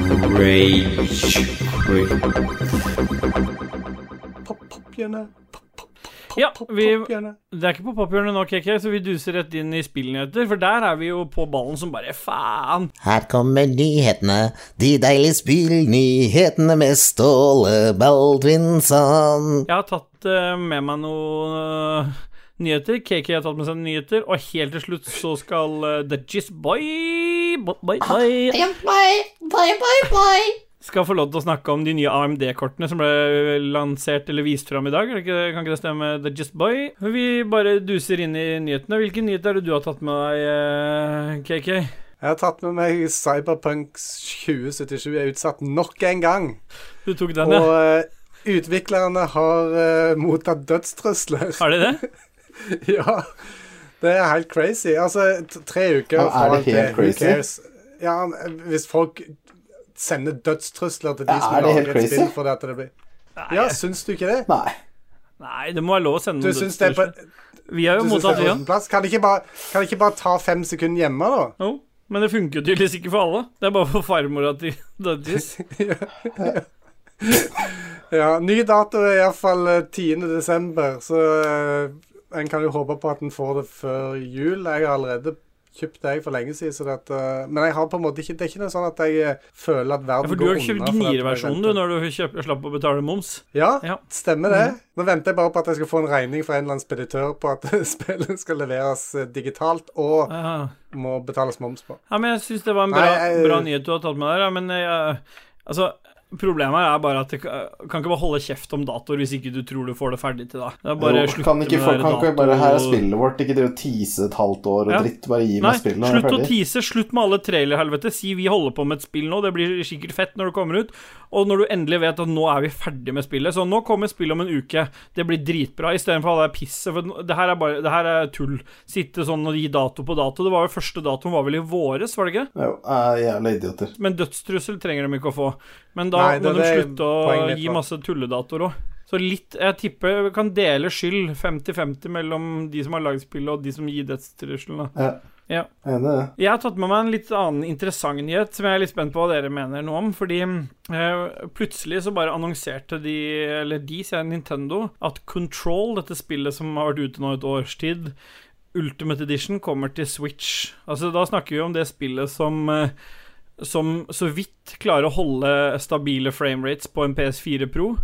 S4: Rage quit.
S3: Pop, pop, hjørne. Pop, pop, pop,
S2: Ja,
S3: pop,
S2: vi-
S3: pop, hjørne.
S2: Det er ikke på pophjørnet nå, KK, så vi duser rett inn i spillnyheter, for der er vi jo på ballen som bare faen.
S5: Her kommer nyhetene, de deilige spillnyhetene med Ståle Baldvinsson.
S2: Jeg har tatt eh, med meg noen eh, nyheter. KK har tatt med seg noen nyheter. Og helt til slutt så skal eh, The Jizz Boy bye, bye,
S3: Ah,
S2: bye.
S4: Bye, bye, bye, bye, bye.
S2: skal få lov til å snakke om de nye AMD-kortene som ble lansert eller vist fram i dag. Er det ikke, kan ikke det stemme, The Just Boy? Vi bare duser inn i nyhetene. Hvilken nyhet er det du har tatt med deg, eh, KK?
S3: Jeg har tatt med meg Cyberpunk 2077 er utsatt nok en gang.
S2: Du tok den,
S3: Og
S2: ja?
S3: eh, utviklerne har eh, mottatt dødstrusler.
S2: Er det det?
S3: ja. Det er helt crazy. Altså, t- tre uker
S1: Ja, er det
S3: foran
S1: helt
S3: who
S1: crazy?
S3: cares? Ja, men hvis folk sender dødstrusler til de
S1: Ja,
S3: som
S1: er det helt
S3: lager et spill
S1: crazy?
S3: fordi at det blir Ja, syns du ikke det?
S1: Nei.
S2: Nei, det må være lov å sende
S3: Du syns det er på,
S2: dødstrusler. Vi har
S3: du
S2: jo
S3: syns det
S2: mottatt
S3: er på
S2: det, ja.
S3: sin plass? Kan det ikke bare, kan det ikke bare ta fem sekunder hjemme, da?
S2: Jo, men det funker jo tydeligvis ikke for alle. Det er bare for farmora til Dudgies.
S3: Ja, ny dato er iallfall 10. eh, desember, så eh, en kan jo håpe på at en får det før jul. Jeg har allerede kjøpt det jeg for lenge siden, så det at, eh, men jeg har på en måte ikke, det er ikke noe sånn at jeg eh, føler at
S2: Ja,
S3: verden
S2: for du
S3: går
S2: har
S3: unna.
S2: kjøpt
S3: fordi at jeg
S2: gnireversjonen, du,
S3: venter.
S2: når du kjøp, slapp å betale moms.
S3: Ja,
S2: Ja. Mhm.
S3: stemmer det. Nå venter jeg bare på at jeg skal få en regning fra en eller annen speditør på at spillet skal leveres eh, digitalt og
S2: Ja.
S3: må betales moms på.
S2: Ja, men jeg syns det var en bra,
S3: Nei, jeg-
S2: bra nyhet du har tatt med der, ja, men jeg, altså Problemet her er bare at det kan kan ikke bare holde kjeft om datoer hvis ikke du tror du får det ferdig til da. Det er bare
S1: Jo,
S2: slutt
S1: kan ikke
S2: med
S1: folk
S2: det
S1: kan ikke
S2: dato-
S1: bare Her er spillet vårt, ikke driv og tease et halvt år og
S2: Ja.
S1: dritt. Bare gi
S2: Nei,
S1: meg spillet når jeg
S2: slutt
S1: er
S2: å
S1: ferdig.
S2: tease. Slutt med alle trailerhelvete. Si vi holder på med et spill nå, det blir sikkert fett når det kommer ut. Og når du endelig vet at nå er vi ferdig med spillet, så nå kommer spillet om en uke, det blir dritbra, istedenfor all det pisset. For nå- det her er bare Det her er tull. Sitte sånn og gi dato på dato. Det var jo første datoen var vel i våres, var det ikke?
S1: Jo, eh, jævla idioter.
S2: Men dødstrussel trenger de ikke å få. Men da
S3: Nei, det-
S2: må de
S3: det er
S2: slutte
S3: poenget
S2: å
S3: mitt,
S2: gi
S3: da.
S2: masse tulledatoer òg. Så litt Jeg tipper vi kan dele skyld 50-50 mellom de som har lagd spillet, og de som gir dødstrusselen. da.
S1: Ja.
S2: Ja.
S1: Enig i det.
S2: Jeg har tatt med meg en litt annen interessant nyhet, som jeg er litt spent på hva dere mener noe om. Fordi eh, plutselig så bare annonserte de, eller de, sier jeg, Nintendo, at Control, dette spillet som har vært ute nå et års tid, Ultimate Edition, kommer til Switch. Altså, da snakker vi om det spillet som eh, som så vidt klarer å holde stabile framerates på en PS4 Pro,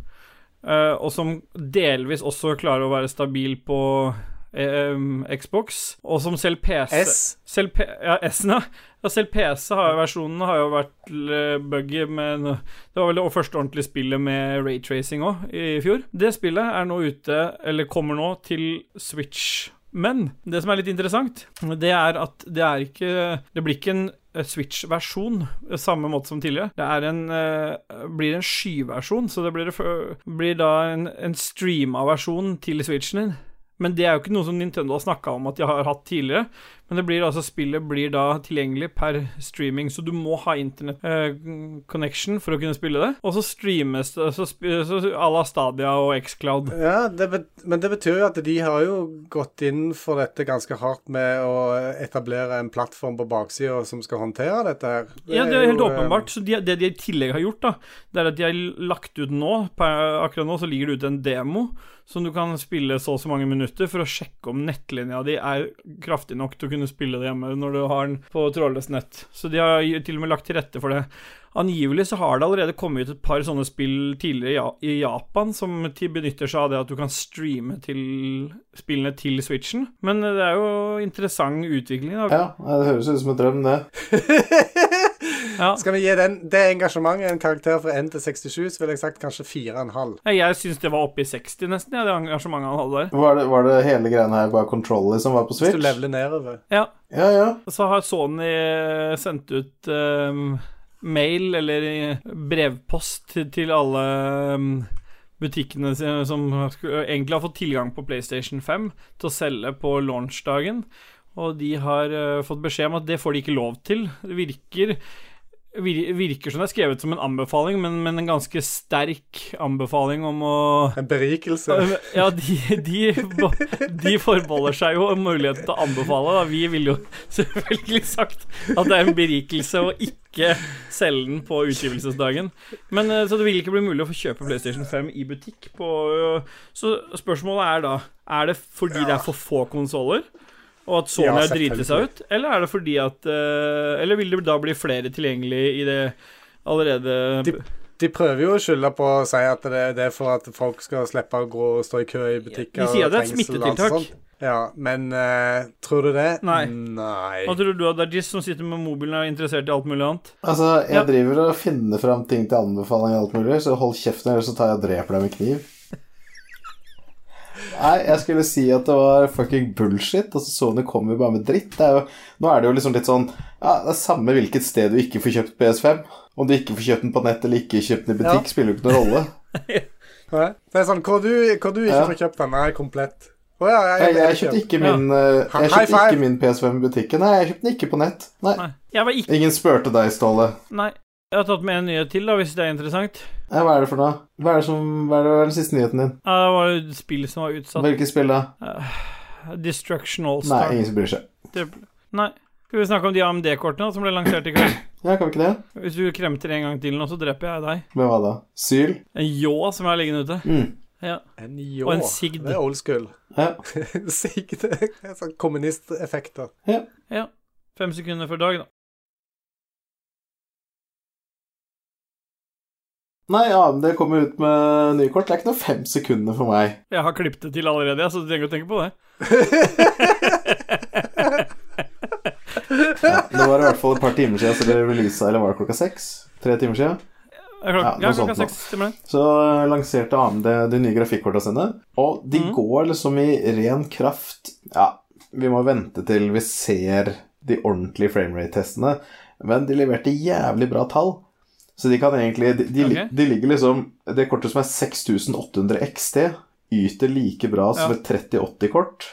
S2: eh, og som delvis også klarer å være stabil på eh, Xbox, og som selv PC
S3: S.
S2: selv, P ja, S-en, ja. ja. Selv PC-versjonen har jo vært eh, buggy, men det var vel det første ordentlige spillet med raytracing òg, i fjor. Det spillet er nå ute, eller kommer nå, til Switch. Men det som er litt interessant, det er at det er ikke Det blir ikke en eh, Switch-versjon, eh, samme måte som tidligere. Det er en, eh, blir en skyversjon, så det blir, det fø- blir da en, en streama versjon til Switchen din. Men det er jo ikke noe som Nintendo har snakka om at de har hatt tidligere. Men det blir altså spillet blir da tilgjengelig per streaming, så du må ha internett eh, connection for å kunne spille det. Og så streames det så sp- så à la Stadia og Xcloud.
S3: Ja, det bet men det betyr jo at de har jo gått inn for dette ganske hardt med å etablere en plattform på baksida som skal håndtere dette her.
S2: Ja, det er helt
S3: jo, eh,
S2: åpenbart. Så de, det de i tillegg har gjort, da, det er at de har lagt ut nå per, Akkurat nå så ligger det ute en demo som du kan spille så og så mange minutter for å sjekke om nettlinja di er kraftig nok til å kunne spille det hjemme når du har den på trådløst nett. Så de har gi- til og med lagt til rette for det. Angivelig så har det allerede kommet ut et par sånne spill tidligere i Ja- i Japan som til- benytter seg av det at du kan streame til spillene til Switchen. Men det er jo interessant utvikling, da.
S1: Ja, det høres ut som en drøm, det.
S2: Ja.
S3: Skal vi gi den, det engasjementet en karakter fra 1 til 67, så ville jeg sagt kanskje 4,5.
S2: Nei, Jeg syns det var oppe i 60 nesten, ja, det engasjementet han hadde der.
S1: Var det, var det hele greia her bare controller som var på
S3: Hvis du
S1: Switch?
S3: leveler nedover.
S2: Ja,
S1: Ja, ja.
S2: Så har Sony eh, sendt ut eh, mail eller eh, brevpost til- til alle eh, butikkene sine som skulle, egentlig har fått tilgang på PlayStation 5 til å selge på launchdagen. Og de har eh, fått beskjed om at det får de ikke lov til. Det virker vir- Virker som det er skrevet som en anbefaling, men, men en ganske sterk anbefaling om å
S3: En berikelse.
S2: Ja, de, de, de forbeholder seg jo muligheten til å anbefale. Da. Vi ville jo selvfølgelig sagt at det er en berikelse å ikke selge den på utgivelsesdagen. Men eh, Så det vil ikke bli mulig å få kjøpe PlayStation 5 i butikk. På, eh, så spørsmålet er da Er det fordi det er for få konsoller? Og at Sony
S3: Ja,
S2: har driti seg ut? Eller er det fordi at eh, Eller vil det da bli flere tilgjengelig i det allerede
S3: De- De prøver jo å skylde på å si at det, det er for at folk skal slippe å gå og stå i kø i butikker.
S2: De sier
S3: og
S2: det er et
S3: trengsel og alt
S2: smittetiltak.
S3: sånt. Ja, men eh, tror du det?
S2: Nei.
S3: Nei.
S2: Hva tror du at det er Jizz som sitter med mobilen og er interessert i alt mulig annet?
S1: Altså, jeg
S2: Ja.
S1: driver og finner fram ting til anbefaling og alt mulig, så hold kjeften, eller så tar jeg og dreper deg med kniv. Nei, jeg skulle si at det var fucking bullshit. Altså, Sony kommer jo bare med dritt. Det er jo, nå er det jo liksom litt sånn Ja, det er samme hvilket sted du ikke får kjøpt PS5. Om du ikke får kjøpt den på nett eller ikke kjøpt den i butikk, spiller jo ikke noen rolle.
S3: Hæ? Det er sånn, Hvor du, hvor du ikke
S1: Ja.
S3: får kjøpt den, er komplett. Å ja, jeg,
S1: Jeg, jeg kjøpte ikke min, eh, jeg
S3: High
S1: kjøpte
S3: five.
S1: ikke min PS5 i butikken. Nei, jeg kjøpte den ikke på nett. Nei.
S2: Nei. Jeg var ikke
S1: Ingen spurte deg, Ståle.
S2: Nei. Jeg har tatt med en nyhet til, da, hvis det er interessant.
S1: Nei, Hva er det for noe? Hva er, det som, hva er, det, hva er den siste nyheten din?
S2: Ja, Det var et spill som var utsatt. Eh,
S1: Hvilket spill da?
S2: Destruction
S1: Nei,
S2: Allstar.
S1: ingen som bryr seg.
S2: Det... Nei. Skal vi snakke om de AMD-kortene som ble lansert i kveld?
S1: Ja, kan vi ikke det?
S2: Hvis du kremter en gang til nå, så dreper jeg deg.
S1: Men hva da? Syl?
S2: En ljå som er liggende ute.
S1: Mm.
S2: Ja.
S3: En ljå.
S2: Og en sigd.
S3: Det er old school.
S1: Ja.
S3: sigd det er sånn kommunisteffekter.
S2: ja. Fem sekunder før dag, da.
S1: Nei, AMD kommer ut med nye kort. Det er ikke noe fem sekunder for meg.
S2: Jeg har klippet det til allerede, jeg, så du trenger ikke å tenke på det.
S1: Det var i hvert fall et par timer siden, så det releasa eller var det klokka seks? Tre timer siden.
S2: Det er klok...
S1: Ja,
S2: ja,
S1: noe sånt
S2: klokka
S1: nå.
S2: seks timer. det.
S1: Så eh, lanserte AMD de nye grafikkorta sine, og de
S2: Mhm.
S1: går liksom i ren kraft Ja, vi må vente til vi ser de ordentlige framerate-testene, men de leverte jævlig bra tall. Så de kan egentlig De, de, li-
S2: Ok.
S1: de ligger liksom Det kortet som er 6800 XT, yter like bra som
S2: Ja.
S1: et 3080-kort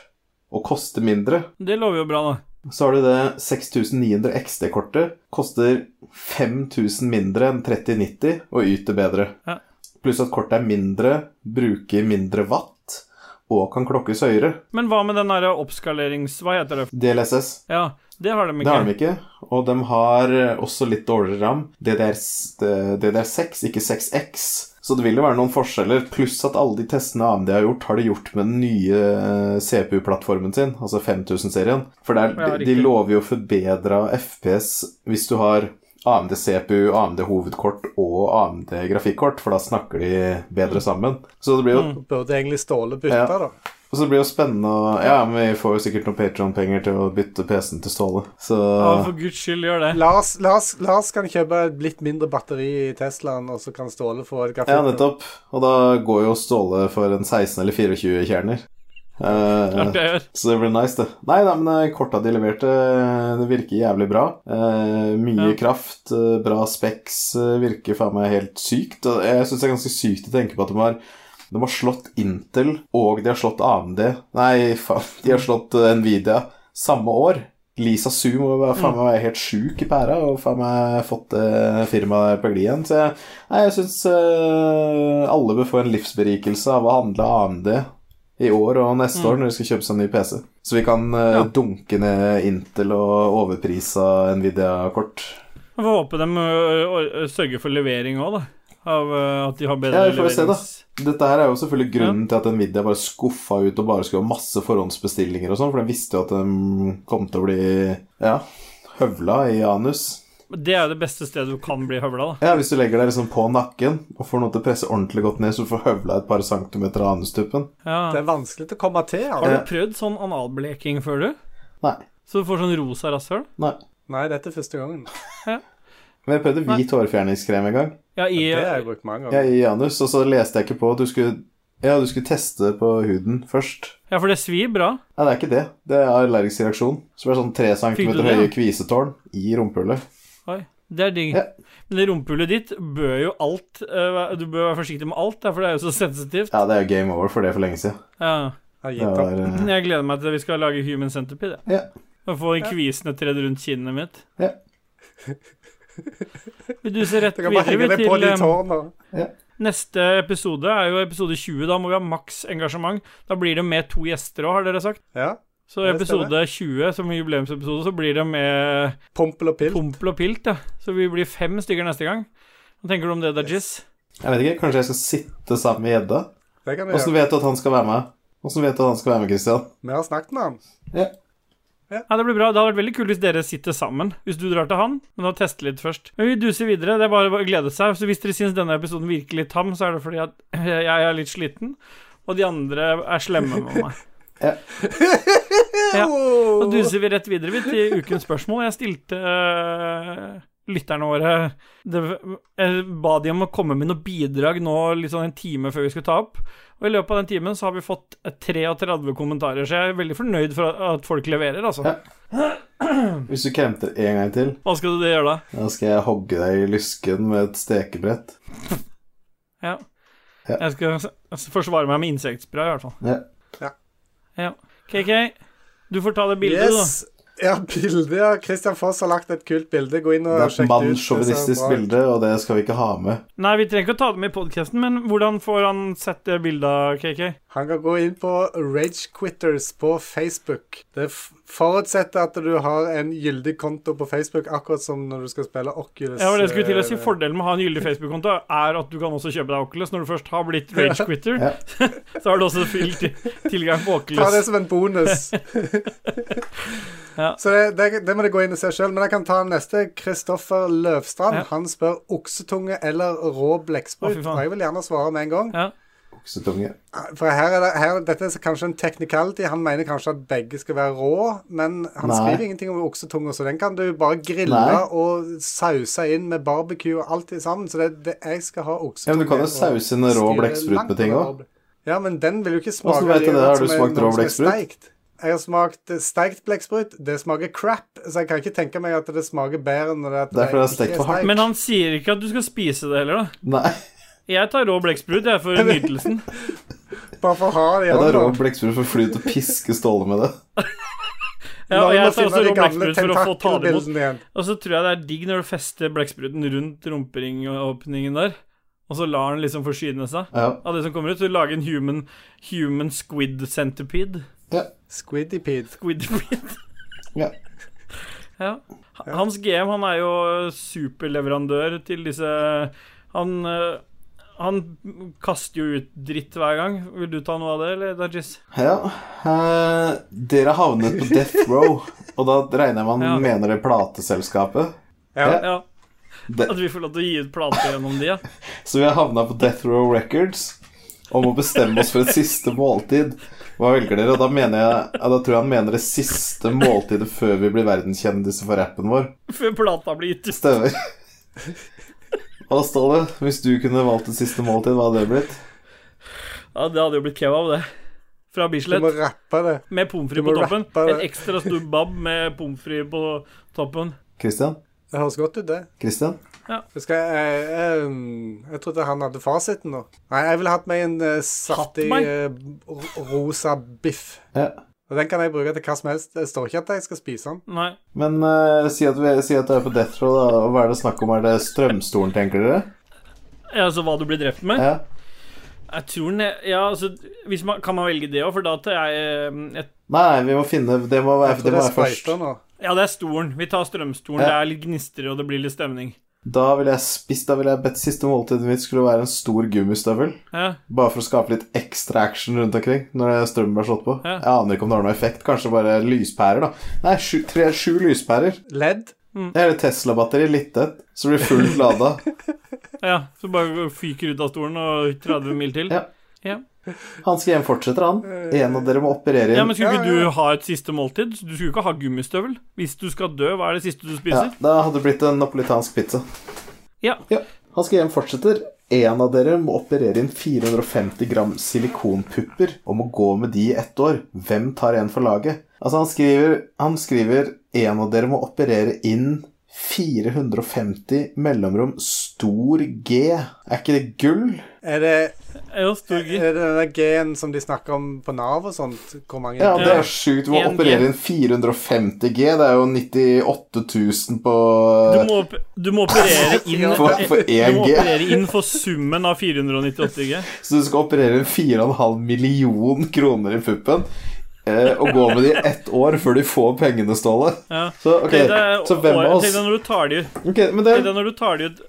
S1: og koster mindre.
S2: Det lover jo bra, da.
S1: Så har du det 6900 XD-kortet. Koster 5000 mindre enn 3090 og yter bedre.
S2: Ja.
S1: Pluss at kortet er mindre, bruker mindre watt og kan klokkes høyere.
S2: Men hva med den derre oppskalerings... Hva heter det?
S1: DLSS.
S2: Ja, det har de
S1: Det
S2: ikke.
S1: har de ikke. Og de har eh, også litt dårligere ram. DDR, s- eh, DDR6, ikke 6X. Så det vil jo være noen forskjeller. Pluss at alle de testene AMD har gjort, har de gjort med den nye eh, CPU-plattformen sin, altså 5000-serien. For der,
S2: Ja,
S1: de, de
S2: riktig.
S1: lover jo forbedra FPS hvis du har AMD CPU, AMD hovedkort og AMD grafikkort, for da snakker de bedre sammen. Så det blir jo
S2: Mm.
S3: Burde egentlig Ståle bytte,
S1: Ja.
S3: da.
S1: og så blir det jo spennende å- Ja, men vi får jo sikkert noen Patron-penger til å bytte PC-en til Ståle, så
S2: Ja, for guds skyld, gjør det.
S3: Lars, Lars, Lars kan kjøpe et litt mindre batteri i Teslaen, og så kan Ståle få et
S1: Ja,
S3: grafikk.
S1: nettopp. Og da går jo Ståle for en 16 eller 24 kjerner. Eh,
S2: Klart jeg gjør.
S1: så det blir nice, det. Nei da, men eh, korta de leverte, eh, det virker jævlig bra. Eh, mye
S2: Ja.
S1: kraft, eh, bra speks, eh, virker faen meg helt sykt. Og jeg syns det er ganske sykt å tenke på at de har de har slått Intel, og de har slått AMD Nei, faen, de har slått eh, Nvidia samme år. Lisa Su må jo være faen meg være helt sjuk i pæra og faen meg fått det firmaet der på glid igjen. Så jeg, nei, jeg syns alle bør få en livsberikelse av å handle AMD i år og neste år når de skal kjøpe seg en ny PC. Så vi kan eh,
S2: Ja.
S1: dunke ned Intel og overprisa Nvidia-kort.
S2: Jeg får håpe de ø, ø, ø, sørger for levering òg, da. Av ø, at de har bedre
S1: Ja, vi får se, da.
S2: leverings...
S1: Dette her er jo selvfølgelig grunnen til at Nvidia bare skuffa ut og bare skulle ha masse forhåndsbestillinger og sånn, for de visste jo at de kom til å bli ja, høvla i anus.
S2: Det er jo det beste stedet du kan bli høvla, da.
S1: Ja, Hvis du legger deg liksom på nakken og får noe til å presse ordentlig godt ned, så du får høvla et par centimeter av anustuppen.
S3: Det
S2: Ja.
S3: er vanskelig til å komme til.
S2: Har
S3: Altså.
S2: du prøvd sånn analbleking før, du?
S1: Nei.
S2: Så du får sånn rosa rasshøl?
S1: nei.
S3: Nei, dette er første gangen.
S1: Men jeg prøvde hvit hårfjerningskrem en gang,
S2: Ja, i
S3: Det har jeg brukt mange ganger.
S1: jeg i anus, og så leste jeg ikke på at du skulle Ja, du skulle teste på huden først.
S2: Ja, for det svir bra.
S1: Nei, det er ikke det. Det er allergisk reaksjon. Som er sånn tre centimeter
S2: det,
S1: høye
S2: ja?
S1: kvisetårn i rumpehullet.
S2: Oi. Det er digg.
S1: Ja.
S2: Men det rumpehullet ditt bør jo alt ø, være- Du bør være forsiktig med alt, da, for det er jo så sensitivt.
S1: Ja, det er jo game over for det for lenge siden.
S2: Ja.
S3: Har
S1: Det
S3: gitt opp.
S1: var, eh,
S2: Jeg gleder meg til vi skal lage Human Centipede.
S1: Ja.
S2: Og få en kvisende tredd rundt kinnet mitt.
S1: Ja.
S2: Vil du se rett
S3: Du kan bare henge
S2: videre
S3: deg på
S2: til um,
S3: de
S2: ø,
S3: tårna.
S2: Neste episode er jo episode 20. Da må vi ha maks engasjement. Da blir det med to gjester òg, har dere sagt.
S3: Ja.
S2: Så
S3: Det stemmer.
S2: episode 20, som jubileumsepisode, så blir det med
S3: Pompel og pilt.
S2: pompel og pilt, ja. Så vi blir fem stykker neste gang. Hva tenker du om det, Dajis?
S1: Jeg vet ikke, kanskje jeg skal sitte sammen med gjedda?
S3: Det kan du
S1: Åssen
S3: gjøre.
S1: vet du at han skal være med? Åssen vet du at han skal være med, Christian?
S3: Vi har snakket med han.
S2: Ja, det blir bra. Det hadde vært veldig kult hvis dere sitter sammen. Hvis du drar til han, men da teste litt først. Men vi duser videre. Det er bare å glede seg. Så hvis dere syns denne episoden virker litt tam, så er det fordi at jeg er litt sliten, og de andre er slemme med meg. Ja. Da duser vi rett videre vidt til ukens spørsmål. Jeg stilte eh, lytterne våre det, Jeg ba de om å komme med noen bidrag nå litt sånn en time før vi skulle ta opp. Og i løpet av den timen så har vi fått 33 kommentarer, så jeg er veldig fornøyd for at- at folk leverer, altså.
S1: Ja. Hvis du kremter en gang til,
S2: Hva skal du gjøre da?
S1: da skal jeg hogge deg i lysken med et stekebrett.
S2: Ja.
S1: Ja.
S2: Jeg skal s- s- forsvare meg med insektspray, i hvert fall.
S1: Ja.
S3: Ja.
S2: Ja. KK, du får ta det bildet, du, da.
S3: Yes. Ja, bildet. ja. Christian Foss har lagt et kult bilde. Gå inn
S1: Det
S3: og
S1: er et
S3: sjekk det ut. Det ser
S1: mannssjåvinistisk
S3: bra ut.
S1: bilde, og det skal vi ikke ha med.
S2: Nei, vi trenger ikke å ta det med i podkasten, men hvordan får han sett det bildet, KK?
S3: Han kan gå inn på Ragequitters på Facebook. Det f- forutsetter at du har en gyldig konto på Facebook, akkurat som når du skal spille Oculus.
S2: Ja, det var det jeg skulle til å si.
S3: eh,
S2: Fordelen med å ha en gyldig Facebook-konto er at du kan også kjøpe deg Oculus. Når du først har blitt rage quitter,
S1: Ja.
S2: så har du også fylt tilgang på
S3: Ta det
S2: Oculus.
S3: som en bonus.
S2: Ja.
S3: Så det, det, det må du gå inn og se sjøl. Men jeg kan ta neste. Kristoffer Løvstrand.
S2: Ja.
S3: Han spør oksetunge eller rå
S2: Å,
S3: blekksprut.
S2: fy faen.
S3: Og jeg vil gjerne svare med en gang.
S2: Ja.
S1: Oksetunge.
S3: For her er det, her, dette er kanskje en technicality. Han mener kanskje at begge skal være rå, men han
S1: Nei.
S3: skriver ingenting om oksetunga, så den kan du bare grille
S1: Nei.
S3: og sause inn med barbecue og alt i sammen. Så det, det, jeg skal ha
S1: Ja,
S3: oksetunge.
S1: men du kan jo
S3: og
S1: sause inn rå
S3: styre
S1: blekksprut
S3: langt
S1: med ting
S3: over
S1: òg.
S3: rå ble- Ja, men den vil jo ikke smake
S1: Hvordan vet du det?
S3: like godt
S1: Har du
S3: som en-
S1: smakt rå
S3: noe som er
S1: blekksprut?
S3: steikt. Jeg har smakt eh, steikt blekksprut. Det smaker crap, så jeg kan ikke tenke meg at det smaker bedre når det, at
S1: Derfor er det
S3: ikke
S1: stekt for hardt.
S2: Men han sier ikke at du skal spise det heller, da.
S1: Nei,
S2: Jeg tar rå blekksprut, jeg, for nytelsen.
S3: Bare for å ha det i
S1: ja, det er rå
S3: hånda.
S1: blekksprut for fly til å piske Ståle med det.
S2: Ja,
S3: Nå
S2: og
S3: må
S2: jeg
S3: finne
S2: tar også
S3: de
S2: rå
S3: gamle
S2: blekksprut for å få ta det imot.
S3: tentakelbildene igjen.
S2: Og så tror jeg det er digg når du fester blekkspruten rundt rumperingåpningen der, og så lar den liksom forsyne seg
S1: Ja.
S2: av det som kommer ut. Så du lager en human, human squid centipede.
S3: Squidipede.
S2: Squid
S1: ja.
S2: Ja. Hans GM han er jo superleverandør til disse Han, eh, han kaster jo ut dritt hver gang. Vil du ta noe av det, eller, Dajis?
S1: ja. Eh, dere havnet på Death Row, og da regner jeg med han
S2: Ja.
S1: mener det plateselskapet.
S3: Ja.
S2: Ja.
S1: Det-
S2: At vi får lov til å gi ut plater gjennom de, ja.
S1: Så vi har havna på Death Row Records om å bestemme oss for et siste måltid. Hva velger dere? Og da, mener jeg, ja, da tror jeg han mener det siste måltidet før vi blir verdenskjendiser for rappen vår.
S2: Før plata blir gitt ut.
S1: Stemmer. Og Ståle, hvis du kunne valgt et siste måltid, hva hadde det blitt?
S2: Ja, det hadde jo blitt kebab, det. Fra
S3: Du må
S2: Bislett.
S3: rappe det.
S2: Med pommes
S3: du
S2: frites
S3: må
S2: på toppen.
S3: rappe det.
S2: En ekstra stor bab med pommes frites på toppen.
S1: Christian?
S3: Det høres godt ut, det.
S1: Christian?
S3: Jeg, skal, jeg, jeg, um, jeg trodde han hadde fasiten nå. Nei, jeg ville hatt meg en eh, saftig
S2: Hatt meg?
S3: eh, ro- rosa biff.
S1: Ja.
S3: Og den kan jeg bruke til hva som helst. Det står ikke at jeg skal spise den.
S2: Nei.
S1: Men eh, si, at vi, si at du er på Death Row, da. Og hva er det snakk om? Er det strømstolen, tenker dere?
S2: Ja, Altså hva du blir drept med?
S1: Ja.
S2: Jeg tror den er, Ja, altså hvis man, Kan man velge det òg, for da tar jeg, eh, jeg
S1: Nei, nei, vi må finne Det må være,
S3: Jeg
S1: det
S3: tror
S1: må
S3: det er
S1: være først.
S3: sprøyter nå.
S2: Ja, det er stolen. Vi tar strømstolen.
S1: Ja.
S2: Det er litt gnister, og det blir litt stemning.
S1: Da ville jeg spist Da ville jeg bedt siste måltidet mitt skulle være en stor gummistøvel.
S2: Ja.
S1: Bare for å skape litt ekstra action rundt omkring når strømmen blir slått på.
S2: Ja.
S1: Jeg aner ikke om det har noen effekt. Kanskje bare lyspærer, da. Nei, sju, tre, sju lyspærer.
S3: Ledd.
S2: Mm.
S1: Eller Tesla-batteri, litt et, så blir det fullt lada.
S2: ja, så bare fyker ut av stolen og 30 mil til.
S1: Ja. Han skal hjem fortsetter, han. En av dere må operere
S2: Ja,
S1: inn.
S2: men Skulle
S3: Ja,
S2: ikke du ha et siste måltid? Du skulle ikke ha gummistøvel? Hvis du skal dø, hva er det siste du
S1: Ja,
S2: spiser?
S1: da hadde det blitt en napolitansk pizza.
S2: Ja.
S1: Han skal hjem fortsetter. En av dere må operere inn 450 gram silikonpupper og må gå med de i ett år. Hvem tar en for laget? Altså, han skriver, han skriver En av dere må operere inn 450 mellomrom stor G. Er ikke det gull?
S3: Er det,
S2: ja. stor
S3: er
S2: G.
S3: det denne G-en som de snakker om på Nav og sånt? Hvor mange
S1: Ja, det
S2: Ja.
S1: er sjukt. Du må
S2: En G.
S1: operere inn 450 G. Det er jo 98 000 på
S2: Du må, op du må operere inn
S1: For- for
S2: Du må
S1: 1G.
S2: operere inn for summen av 498 G.
S1: Så du skal operere inn 4,5 million kroner i puppen eh, og gå med de i ett år før de får pengene, Ståle.
S2: Ja.
S1: Så, ok,
S2: Tenk deg-
S1: så hvem av
S2: Tenk
S1: oss
S2: deg når du tar de ut
S1: Ok, men det,
S2: Tenk deg når du tar de ut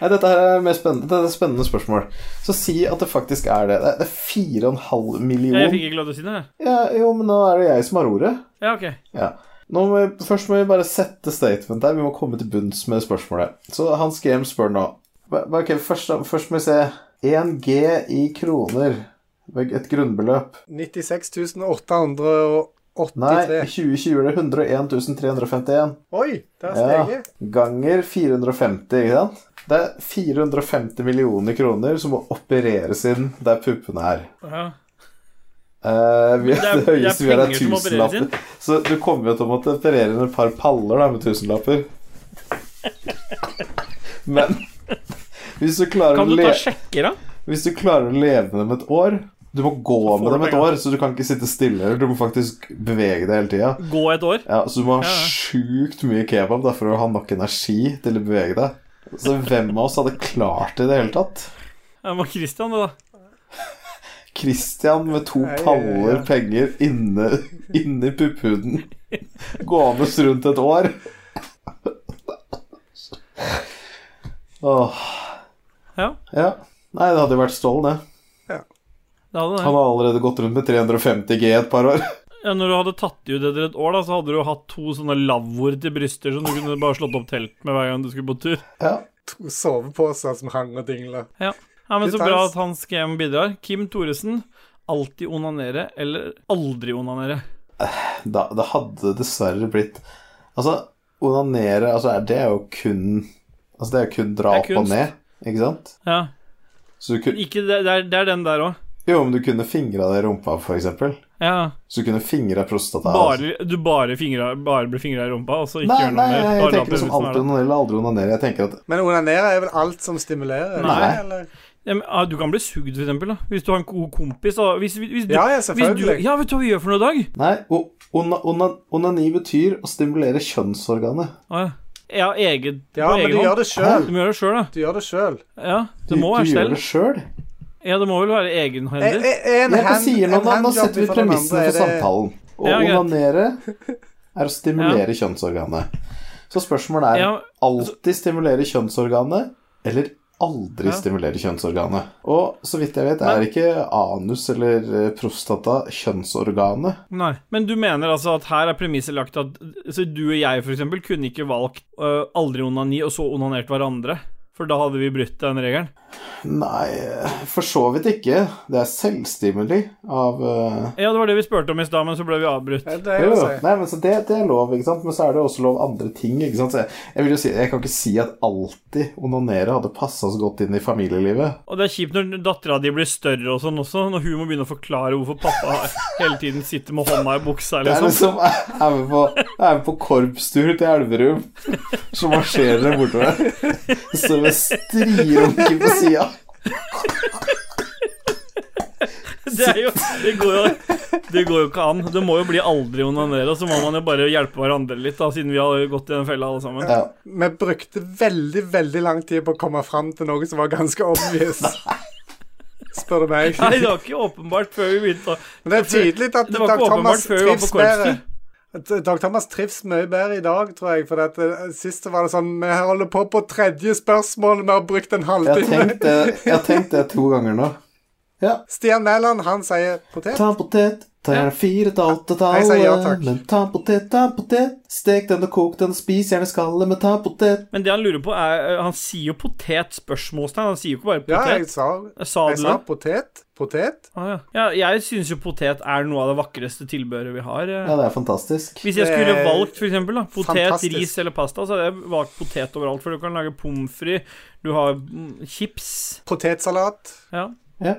S1: nei, Dette her er mer spennende, dette er et spennende spørsmål. Så si at det faktisk er det. Det er- Det er 4,5
S2: Ja, Jeg
S1: million
S2: fikk ikke lov til å si det. jeg.
S1: ja, Jo, men nå er det jeg som har ordet.
S2: Ja, ok.
S1: Ja. Nå må vi, først må vi bare sette statement her. Vi må komme til bunns med spørsmålet. Så Hans Game spør nå Hva- hva- Ok, først, da- først må vi se 1G i kroner Et grunnbeløp.
S3: 96
S1: Nei,
S3: 883.
S1: i 2020 er det 101 351.
S3: Oi, det har
S1: Ja,
S3: steget.
S1: ganger 450, ikke sant? Det er 450 millioner kroner som må opereres inn der puppene er.
S2: Ja.
S1: Eh, vi,
S2: det
S1: det,
S2: er-
S1: høyeste vi
S2: det er
S1: har, er
S2: penger som opereres
S1: tusenlapper.
S2: inn.
S1: Så du kommer jo til å måtte operere inn et par paller da, med tusenlapper. Men hvis du, klarer
S2: Kan
S1: å
S2: du
S1: le
S2: ta sjekker, da?
S1: hvis du klarer å leve med dem et år Du må gå
S2: Så får
S1: med
S2: du
S1: dem et
S2: penger.
S1: år, så du kan ikke sitte stille. Du må faktisk bevege deg hele tida.
S2: Gå et år?
S1: Ja, så du må ha
S2: Ja, ja.
S1: sjukt mye kebab da, for å ha nok energi til å bevege deg. Så hvem av oss hadde klart det i det hele tatt?
S2: Det var Christian, det, da.
S1: Christian med to
S3: Nei, ja,
S1: paller
S3: ja.
S1: penger inne inni pupphuden. Gående rundt et år. Åh,
S2: Ja,
S1: ja. Nei, det hadde jo vært Stål, det.
S2: det hadde
S1: Han
S2: det.
S1: har allerede gått rundt med 350 G et par år.
S2: Ja, når du hadde tatt ut etter et år, da, så hadde du hatt to sånne lavvoer til bryster som du kunne bare slått opp telt med hver gang du skulle på tur.
S1: Ja.
S3: To soveposer som hang og dingla.
S2: Ja, ja men så
S3: Details.
S2: bra at hans GM bidrar. Kim Thoresen, alltid onanere eller aldri onanere.
S1: da, det hadde dessverre blitt Altså, onanere altså, er- Det er jo kun Altså, det er jo kun dra
S2: Det er
S1: opp og
S2: kunst.
S1: ned, ikke sant?
S2: Ja.
S1: Så du kunne,
S2: Ikke det, det, er, det er den der òg.
S1: jo, om du kunne fingra det i rumpa, for eksempel.
S2: Ja.
S1: Så du kunne fingra prostata.
S2: Bare, du bare, fingra, bare blir fingra i rumpa, og så ikke
S1: Nei, nei,
S2: gjør noe mer.
S1: jeg,
S2: Bare la
S1: tenker liksom
S2: pubesen være
S1: alltid
S2: der.
S1: onanere eller aldri onanere. Jeg tenker at
S3: Men onanere er vel alt som stimulerer?
S2: Nei.
S3: Nei. Eller?
S2: ja, men, ah, Du kan bli sugd, for eksempel. Da. Hvis du har en god kompis. Da. Hvis, hvis, hvis du,
S3: Ja, ja,
S2: hvis du,
S3: selvfølgelig.
S2: ja, vet du hva vi gjør for noe i dag?
S1: Nei, o- ona, ona, onani betyr å stimulere kjønnsorganet.
S2: Ah, ja. Ja, eget,
S3: Ja,
S2: på
S3: men
S2: egen
S3: du
S2: hånd.
S3: gjør det sjøl.
S2: Du må gjøre det sjøl, da.
S3: Du gjør det sjøl.
S2: Ja,
S1: Du,
S2: det må
S1: du
S2: være
S1: gjør
S2: stell.
S1: det sjøl.
S2: Ja, det må vel være egenhendig.
S1: Eh,
S3: En
S1: Ja, hva
S3: hand-
S1: sier
S3: en
S1: man da? Nå
S3: handjob
S1: setter vi
S3: ifra den
S1: premissene
S3: andre,
S1: for
S3: er det-
S1: samtalen. Å
S2: Ja, greit.
S1: onanere er å stimulere kjønnsorganet. Så spørsmålet er
S2: Ja,
S1: alltid stimulere kjønnsorganet, eller aldri
S2: Ja.
S1: stimulere kjønnsorganet. Og så vidt jeg vet, er ikke anus eller eh, prostata kjønnsorganet.
S2: nei. Men du mener altså at her er premisset lagt at så du og jeg for eksempel kunne ikke valgt øh, aldri onani og så onanert hverandre? For da hadde vi brutt den regelen.
S1: Nei, eh, for så vidt ikke. Det er selvstimuli av eh,
S2: Ja, det var det vi spurte om i stad, men så ble vi avbrutt.
S3: Ja, det er
S1: jo,
S3: jo
S1: jo.
S3: å si.
S1: Nei, men så det, det er lov, ikke sant? Men så er det også lov andre ting. ikke sant? Så jeg, jeg, vil jo si, jeg kan ikke si at alltid onanere hadde passa så godt inn i familielivet.
S2: Og det er kjipt når dattera di blir større og sånn også, når hun må begynne å forklare hvorfor pappa hele tiden sitter med hånda i buksa,
S1: Det er
S2: liksom.
S1: liksom Jeg er med på, jeg er med på korpstur til Elverum, så marsjerer det bortover. Står med strirunke på sida.
S2: Det, er jo, det, går jo, det går jo ikke an. Det må jo bli aldri onanere, og så må man jo bare hjelpe hverandre litt, da, siden vi har gått i den fella alle sammen.
S1: Ja.
S3: Vi brukte veldig, veldig lang tid på å komme fram til noe som var ganske obvious. Spør du meg.
S2: Nei, det var ikke åpenbart før vi begynte å
S3: Men det er tydelig at
S2: Det var
S3: Dag
S2: ikke
S3: Thomas
S2: åpenbart før vi var
S3: trives
S2: på
S3: bedre.
S2: korpstur.
S3: At eh, Dag Thomas trives mye bedre i dag, tror jeg. For at, eh, sist så var det sånn Vi holder på på tredje spørsmål, vi har brukt en
S1: Jeg har
S3: halvtime.
S1: tenkt det, jeg har tenkt det to ganger nå. Ja.
S3: Stian Mæland, han sier potet.
S1: Ta en potet, ta gjerne fire til åtte
S3: Nei, jeg sier ja,
S1: tallet.
S3: takk.
S1: Men ta en potet, ta en potet. Stek den og kok den, spis gjerne skallet, men ta en potet.
S2: Men det han lurer på, er eh, Han sier jo potet? Spørsmålstegn. Han sier jo ikke bare
S3: Ja, jeg
S2: potet. Eh,
S3: sa,
S2: Sa du
S3: jeg sa
S2: det?
S3: potet. Potet.
S2: Ah, ja. ja, jeg syns jo potet er noe av det vakreste tilbehøret vi har. eh.
S1: Ja, det er fantastisk.
S2: Hvis jeg
S3: det
S2: skulle
S3: er
S2: valgt for eksempel, da, potet,
S3: fantastisk.
S2: ris eller pasta, så hadde jeg valgt potet overalt. For du kan lage pommes frites, du har mm, chips,
S3: Potetsalat.
S2: ja.
S1: Ja.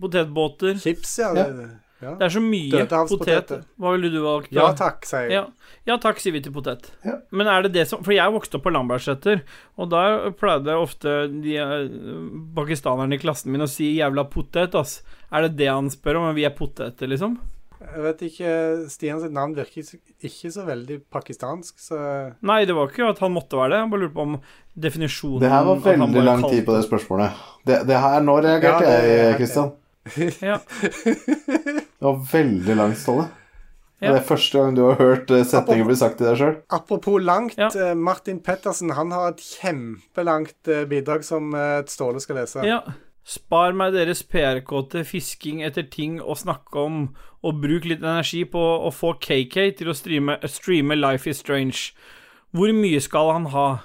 S2: potetbåter
S3: Chips, ja.
S1: Ja.
S3: det- Ja,
S2: Det er så mye
S3: Dødehavspoteter.
S2: potet. Hva ville du valgt?
S3: ja
S2: da?
S3: takk, sier jeg.
S2: Ja. ja takk, sier vi til potet.
S1: Ja.
S2: Men er det det som For jeg vokste opp på Lambertseter, og der pleide ofte de eh, pakistanerne i klassen min å si 'jævla potet', ass. Er det det han spør om? om Vi er poteter, liksom?
S3: Jeg vet ikke, Stian sitt navn virker ikke så- ikke så veldig pakistansk, så
S2: Nei, det var ikke at han måtte være det. Jeg bare lurte på om definisjonen
S1: Det her var
S2: at han
S1: veldig
S2: bare
S1: lang
S2: kalte-
S1: tid på det spørsmålet. Det, det her Nå reagerte
S3: Ja, det-
S1: jeg, Kristian.
S2: Ja.
S1: Det var veldig langt, Ståle.
S2: Ja.
S1: Det er første gang du har hørt eh, setninger bli sagt til deg sjøl.
S3: Apropos langt,
S2: Ja.
S3: eh, Martin Pettersen han har et kjempelangt eh, bidrag som eh, Ståle skal lese.
S2: ja. Spar meg deres PR-kåte fisking etter ting å snakke om, og bruk litt energi på å få KK til å streame, streame Life is Strange. Hvor mye skal han ha?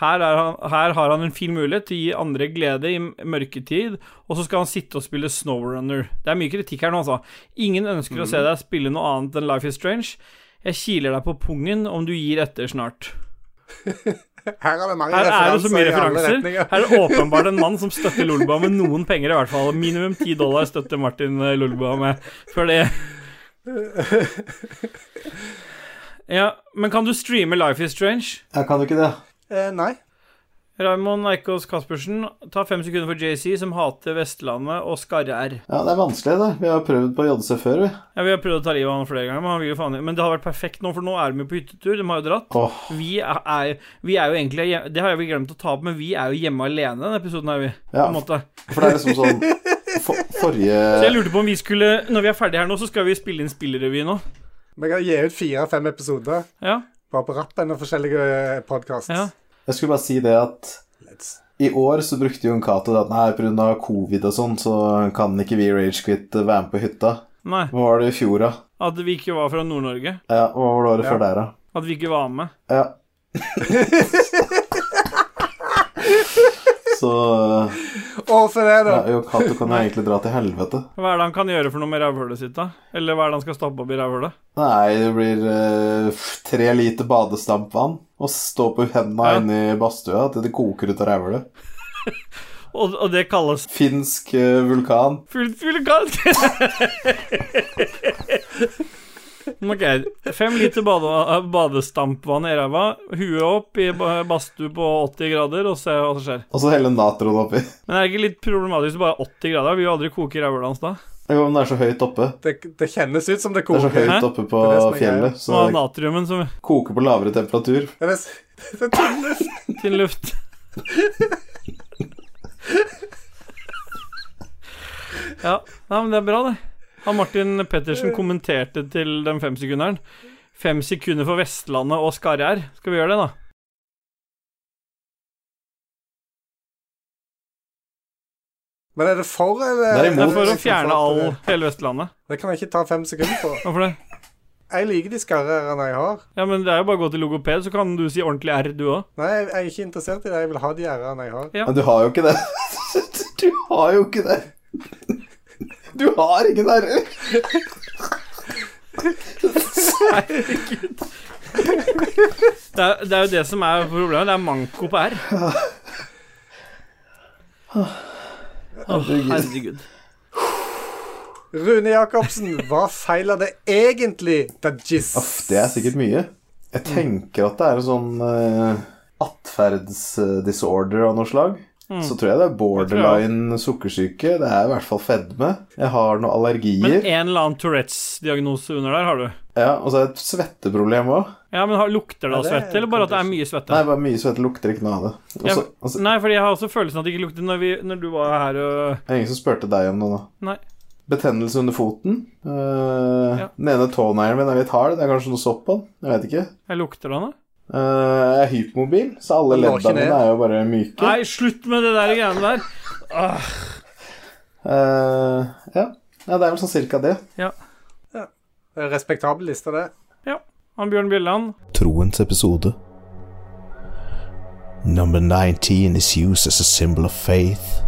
S2: Her, er han, her har han en fin mulighet til å gi andre glede i m- mørketid, og så skal han sitte og spille Snowrunner. Det er mye kritikk her nå, altså. Ingen ønsker å se deg spille noe annet enn Life is Strange. Jeg kiler deg på pungen om du gir etter snart.
S3: Her er det mange
S2: Her er det så mye
S3: referanser i alle
S2: referanser.
S3: retninger.
S2: Her er det åpenbart en mann som støtter Lolbua med noen penger, i hvert fall. Minimum 10 dollar støtter Martin eh, Lolbua med. For det Ja, men kan du streame Life is Strange?
S1: Jeg kan jo ikke det.
S3: Eh, nei.
S2: Raymond Eikås Caspersen, ta fem sekunder for JC, som hater Vestlandet og skarre-r.
S1: Ja, Det er vanskelig, det. Vi har prøvd på JC før, vi.
S2: Ja, vi har prøvd å ta livet av han flere ganger, men, han vil jo faen ikke. men det har vært perfekt nå, for nå er de jo på hyttetur. De har jo dratt.
S1: Åh,
S2: Vi er, er, vi er jo egentlig hjem- Det har vi glemt å ta opp, men vi er jo hjemme alene denne episoden her, vi. På
S1: Ja.
S2: en måte.
S1: for det er liksom sånn for,
S2: Så jeg
S1: Forrige
S2: lurte på om vi skulle Når vi er ferdige her nå, så skal vi spille inn spillerevy nå.
S3: Vi kan gi ut fire-fem episoder
S2: Ja.
S3: bare på rappen og forskjellige podkasts.
S2: ja.
S1: Jeg skulle bare si det at
S3: Let's
S1: i år så brukte Jon Cato det at nei, pga. covid og sånn, så kan ikke vi i Ragequit eh, være med på hytta.
S2: Nei.
S1: Hva var det i fjor, da?
S2: At vi ikke var fra Nord-Norge.
S1: Ja, hva var det året før der, da?
S2: At vi ikke var med.
S1: Ja. så eh,
S3: Å, for det, da!
S1: ja, Jon Cato kan jo egentlig dra til helvete.
S2: Hva er det han kan gjøre for noe med rævhølet sitt, da? Eller hva er det han skal stappe opp i rævhølet?
S1: Nei, det blir eh, f- tre liter badestampvann og stå på hendene
S2: Ja.
S1: inne i badstua til det koker ut av rævhølet.
S2: Og, og det kalles
S1: Finsk eh, vulkan.
S2: fullt vulkansk! ok. Fem liter bade, badestampvann i ræva, huet opp i ba- badstue på 80 grader, og se hva som skjer.
S1: Og så helle natron oppi.
S2: Men er det ikke litt problematisk bare 80 grader? Vi vil jo aldri koke i rævhølet hans da.
S1: Jo, men det er så høyt oppe.
S3: Det, det kjennes ut som det
S1: Det er så
S3: koker.
S1: høyt
S2: Hæ?
S1: oppe på
S3: Det er det som er greia.
S1: fjellet, så
S2: Nå er
S1: det
S2: natriumen som
S1: koker på lavere temperatur.
S3: Det er, s- det er tynne
S2: Tynn luft. ja, nei, men det er bra, det. Han Martin Pettersen kommenterte til den femsekunderen. Fem sekunder for Vestlandet og Skarre-R. Skal vi gjøre det, da?
S3: Men er det for eller
S1: Det er imot.
S2: Det er for å fjerne all, hele Vestlandet.
S3: Det kan jeg ikke ta fem sekunder på.
S2: Hvorfor det?
S3: Jeg liker de skarrerne jeg har.
S2: Ja, men det er jo bare å gå til logoped, så kan du si ordentlig R, du òg.
S3: Nei, jeg jeg er ikke interessert i det. Jeg vil ha de r-ene jeg har.
S2: Ja.
S1: Men du har jo ikke det. Du har jo ikke det. Du har ingen r-er.
S2: Det, er- det er jo det som er problemet. Det er manko på R. Åh, herregud.
S3: Rune Jacobsen, hva feiler det egentlig, Dajis?
S1: Uff, det er sikkert mye. Jeg tenker at det er en sånn uh, atferdsdisorder av noe slag. Så tror jeg det er borderline sukkersyke. Det er i hvert fall fedme. Jeg har noen
S2: Men
S1: allergier.
S2: en eller annen Tourettes-diagnose under der har du.
S1: Ja, Og så er det et svetteproblem òg.
S2: Ja, men har, Lukter det av
S3: Ja, det
S2: svette, eller bare at det er mye
S1: Nei,
S2: svette?
S1: bare mye svette lukter ikke noe av det. Og
S2: Jeg,
S1: så- og så-
S2: nei, fordi jeg har også følelsen at det ikke lukter når, vi, når du var her og
S1: det er ingen som spurte deg om det nå.
S2: Nei.
S1: Betennelse under foten. Eh,
S2: Ja.
S1: Den ene tåneglen min er litt hard. Det er kanskje noe sopp på den. Jeg vet ikke.
S2: Jeg lukter det nå.
S1: Eh, jeg er hypermobil, så alle
S3: Den lå ikke
S1: leddene mine
S3: ned.
S1: er jo bare myke.
S2: Nei, slutt med det der greiene der. Ah,
S1: Eh, ja. ja, det er vel sånn cirka det.
S3: Det er en Respektabel liste, det.
S2: han Bjørn Bjelland.
S6: Troens episode. Number 19 is used as a symbol of faith.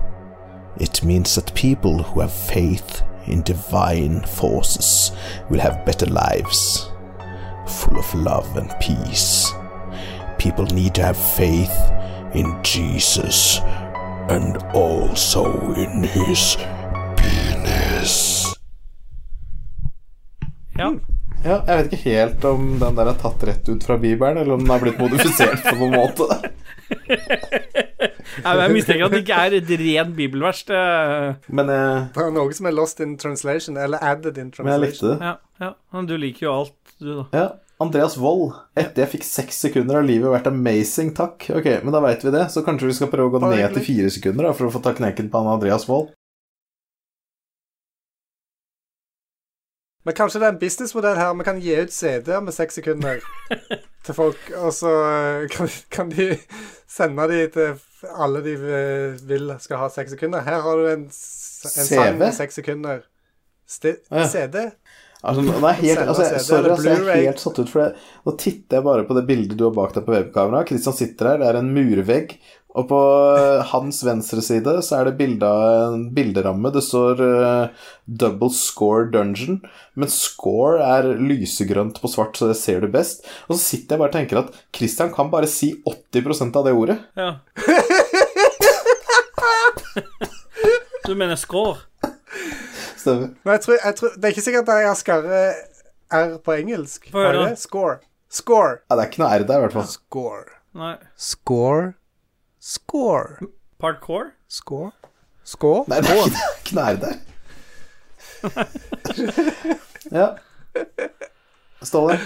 S6: It means that people who have faith in divine forces will have better lives, full of love and peace. People need to have faith in Jesus and also in his penis.
S2: Ja.
S1: Ja, jeg vet ikke helt om den der er tatt rett ut fra Bibelen, eller om den er blitt modifisert på noen måte.
S2: Jeg, jeg mistenker at det ikke er et rent bibelvers. Det,
S1: Men jeg,
S3: Det er noe som er lost in translation, eller added in
S1: men jeg
S3: translation.
S1: likte det.
S2: ja, ja. Men du liker jo alt, du, da.
S1: Ja, Andreas Wold. Etter jeg fikk seks sekunder av livet, vært amazing, takk. Ok, men da veit vi det, så kanskje vi skal prøve å gå
S3: Bare
S1: ned
S3: hyggelig.
S1: til fire sekunder da, for å få ta knekken på han Andreas Wold.
S3: Men kanskje det er en businessmodell her. Vi kan gi ut CD-er med seks sekunder til folk, og så eh, kan, kan de sende de til alle de eh, vil skal ha seks sekunder. Her har du en, s- en sang
S1: CV?
S3: med seks sekunder. Sti
S1: Ja.
S3: CD?
S1: Altså, nei, helt,
S3: Send oss
S1: altså, jeg-
S3: det.
S1: sorry,
S3: Eller
S1: altså, jeg er
S3: Blu-ray.
S1: helt satt ut, for det. nå titter jeg bare på det bildet du har bak deg på webkamera. Kristian sitter her, det er en murvegg, og på eh, hans venstre side så er det bilde av en bilderamme. Det står eh, 'Double Score Dungeon', men score er lysegrønt på svart, så det ser du best. Og så sitter jeg bare og tenker at Kristian kan bare si 80 av det ordet.
S2: Ja. Du mener score?
S1: Stemmer.
S3: Men jeg tror, jeg tror, det er ikke sikkert at jeg har skarre R på engelsk.
S2: Få høre.
S3: Har jeg det? Score. Score.
S1: Ja, det er ikke noe R der, i hvert fall.
S3: Score.
S2: Nei.
S3: Score. Score.
S2: Parkour?
S3: Score. Score.
S1: Nei, det er ikke- det er ikke noe R der. Ja. Ståle?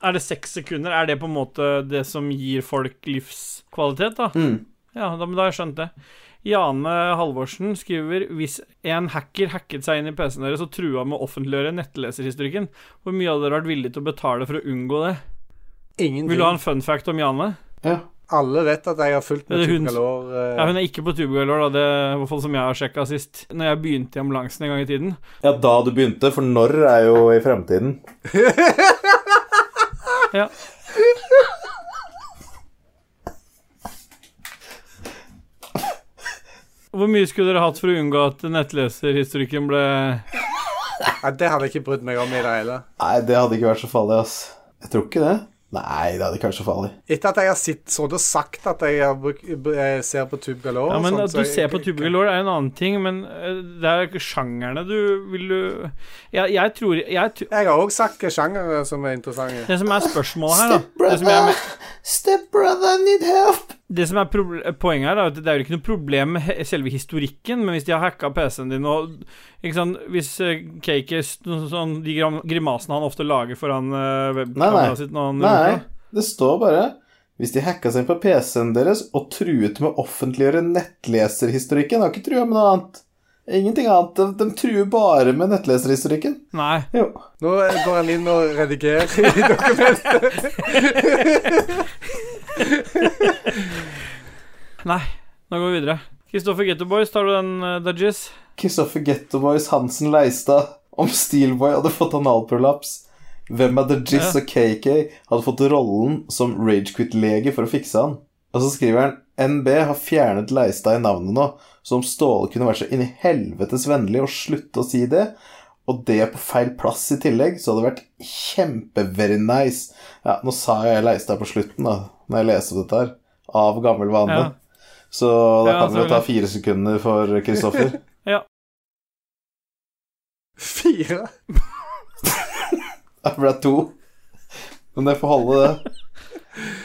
S2: Er det seks sekunder? Er det på en måte det som gir folk livskvalitet, da? Ja, da, men da har jeg skjønt det. Jane Halvorsen skriver hvis en hacker hacket seg inn i PC-en deres og trua med å offentliggjøre nettleserhistorikken, hvor mye hadde dere vært villig til å betale for å unngå det? Vil du ha
S3: Ingenting.
S2: en fun fact om Jane?
S1: Ja.
S3: Alle vet at jeg har fulgt med eh,
S2: Er det hun-
S3: tjukkalår.
S2: Ja, hun er ikke på tubegalore, da, det, i hvert fall som jeg har sjekka sist. Når jeg begynte i ambulansen en gang i tiden.
S1: Ja, da du begynte, for når er jo i fremtiden.
S2: Ja. Hvor mye skulle dere hatt for å unngå at nettleserhistorikken ble
S3: Ja, det hadde jeg ikke brydd meg om i det hele.
S1: Nei, det hadde ikke vært så farlig, ass. Jeg tror ikke det. Nei, det hadde ikke vært så farlig.
S3: Etter at jeg har sitt, så det sagt at jeg, har bruk, jeg ser på Tube Galore
S2: Ja, men
S3: og
S2: At
S3: sånt,
S2: du
S3: sånn så
S2: ser
S3: jeg-
S2: på tubegalore, er en annen ting, men eh, det er jo ikke sjangerne du vil du Jeg, jeg tror jeg, tr-
S3: Jeg har òg sagt hvilke sjangere som er interessante.
S2: Det som er spørsmålet her, da Det som jeg mener-
S1: Stepbrother need help!
S2: det som er proble- poenget her, er at det er jo ikke noe problem med he- selve historikken, men hvis de har hacka PC-en din og ikke sant, Hvis eh, KK s- noe sånn, De gram- grimasene han ofte lager foran eh,
S1: Nei, nei.
S2: webkameraet sitt når han
S1: Nei, det står bare Hvis de hacka seg inn på PC-en deres og truet med å offentliggjøre nettleserhistorikken Har ikke trua med noe annet. Ingenting annet. De, de truer bare med nettleserhistorikken.
S2: Nei.
S1: Jo.
S3: Nå går han inn og redigerer i dokumentet.
S2: Nei. Nå går vi videre. Kristoffer Gettoboys, tar du den, uh, Dudges?
S1: Kristoffer Getto Boys Hansen Leistad om Steelboy hadde fått analprolaps. Hvem av The Jizz og KK hadde fått rollen som Ragequit-lege for å fikse han? Og så skriver han NB har fjernet Leistad i navnet nå, så om Ståle kunne vært så inn i helvetes vennlig og slutte å si det, og det på feil plass i tillegg, så hadde det vært kjempe-very nice. Ja, nå sa jo jeg Leistad på slutten, da, når jeg leste opp dette her, av gammel vane.
S2: Ja.
S1: Så da
S2: Ja,
S1: kan vi jo ta
S2: selvfølgelig.
S1: fire sekunder for Kristoffer.
S3: Fire.
S1: Det ble to. Men det får holde, det.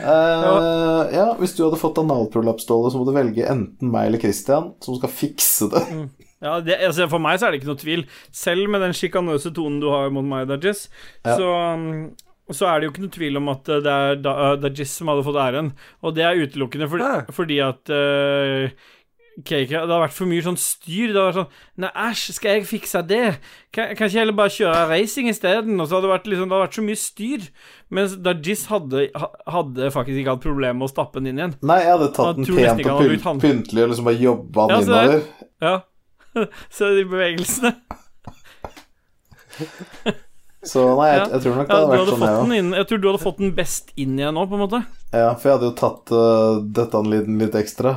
S1: Eh, ja, hvis du hadde fått analprolaps, Ståle, så må du velge enten meg eller Christian, som skal fikse det.
S2: Mm. Ja, det, altså For meg så er det ikke noe tvil. Selv med den sjikanøse tonen du har mot meg, Dajis,
S1: Ja.
S2: så, um, så er det jo ikke noe tvil om at uh, det er da- uh, Dajis som hadde fått æren. Og det er utelukkende for,
S3: Hæ?
S2: fordi at uh, KK Det har vært for mye sånn styr. Det har vært sånn Nei, æsj, skal jeg fikse det? Kan, kan ikke jeg heller bare kjøre racing isteden? Og så hadde det vært liksom Det har vært så mye styr. Mens Dajis hadde, ha- hadde faktisk ikke hatt problemer med å stappe den inn igjen.
S1: Nei, jeg hadde tatt
S2: Han
S1: den
S2: tror nesten
S1: pent
S2: ikke
S1: og
S2: han hadde
S1: pynt-
S2: brukt han.
S1: pyntelig og liksom bare jobba den
S2: Ja, se der.
S1: innover.
S2: Ja. Se de bevegelsene.
S1: Så nei, jeg,
S2: Ja.
S1: jeg tror nok det hadde vært
S2: Ja, du hadde
S1: sånn,
S2: fått
S1: jeg
S2: den
S1: òg.
S2: inn, jeg tror du hadde fått den best inn igjen nå, på en måte.
S1: Ja, for jeg hadde jo tatt uh, dette an liten litt ekstra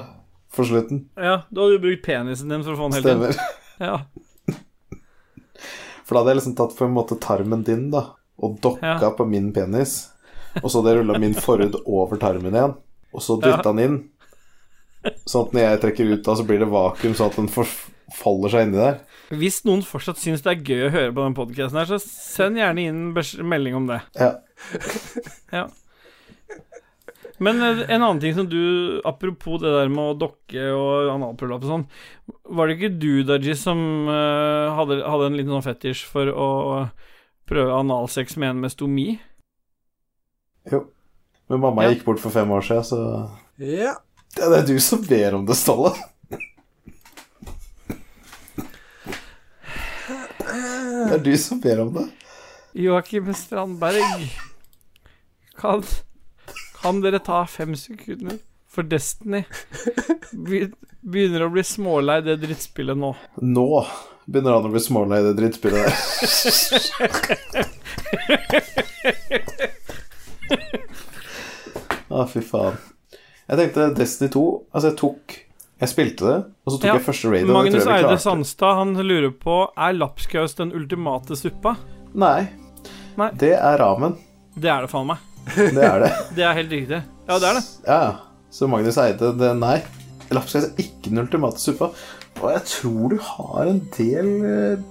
S1: for slutten.
S2: Ja, Du hadde jo brukt penisen din for å få den helt inn.
S1: Stemmer.
S2: Ja,
S1: For da hadde jeg liksom tatt på en måte tarmen din, da, og dokka
S2: Ja.
S1: på min penis. Og så hadde jeg rulla min forhud over tarmen igjen, og så dytta den inn. Sånn at når jeg trekker ut da, så blir det vakuum, sånn at den forfaller seg inni der.
S2: Hvis noen fortsatt syns det er gøy å høre på den podkasten her, så send gjerne inn bes- melding om det.
S1: Ja.
S2: Men eh, en annen ting som du Apropos det der med å dokke og analprolaps og sånn. Var det ikke du, Daji, som eh, hadde, hadde en liten sånn fetisj for å prøve analsex med en med stomi?
S1: Men mamma
S2: Ja.
S1: gikk bort for fem år siden, så
S3: Ja.
S1: ja, Det er du som ber om det, Ståle. Det er du som ber om det.
S2: Joakim Strandberg, kan, kan dere ta fem sekunder for Destiny? Be- Begynner å bli smålei det drittspillet nå.
S1: Nå Begynner han å bli smålei det drittspillet der. Å, fy faen. Jeg tenkte Destiny 2 Altså, jeg tok Jeg spilte det, og så tok
S2: Ja,
S1: jeg første raid. og det tror jeg
S2: Magnus
S1: vi
S2: Eide
S1: klarte.
S2: Sandstad han lurer på Er lapskaus den ultimate suppa.
S1: Nei.
S2: Nei.
S1: Det er ramen.
S2: Det er det faen meg.
S1: Det er det.
S2: Det er helt riktig. Ja, det er det.
S1: Ja, Så Magnus Eide, det nei. Lapskaus er ikke den ultimate suppa. Og jeg tror du har en del eh,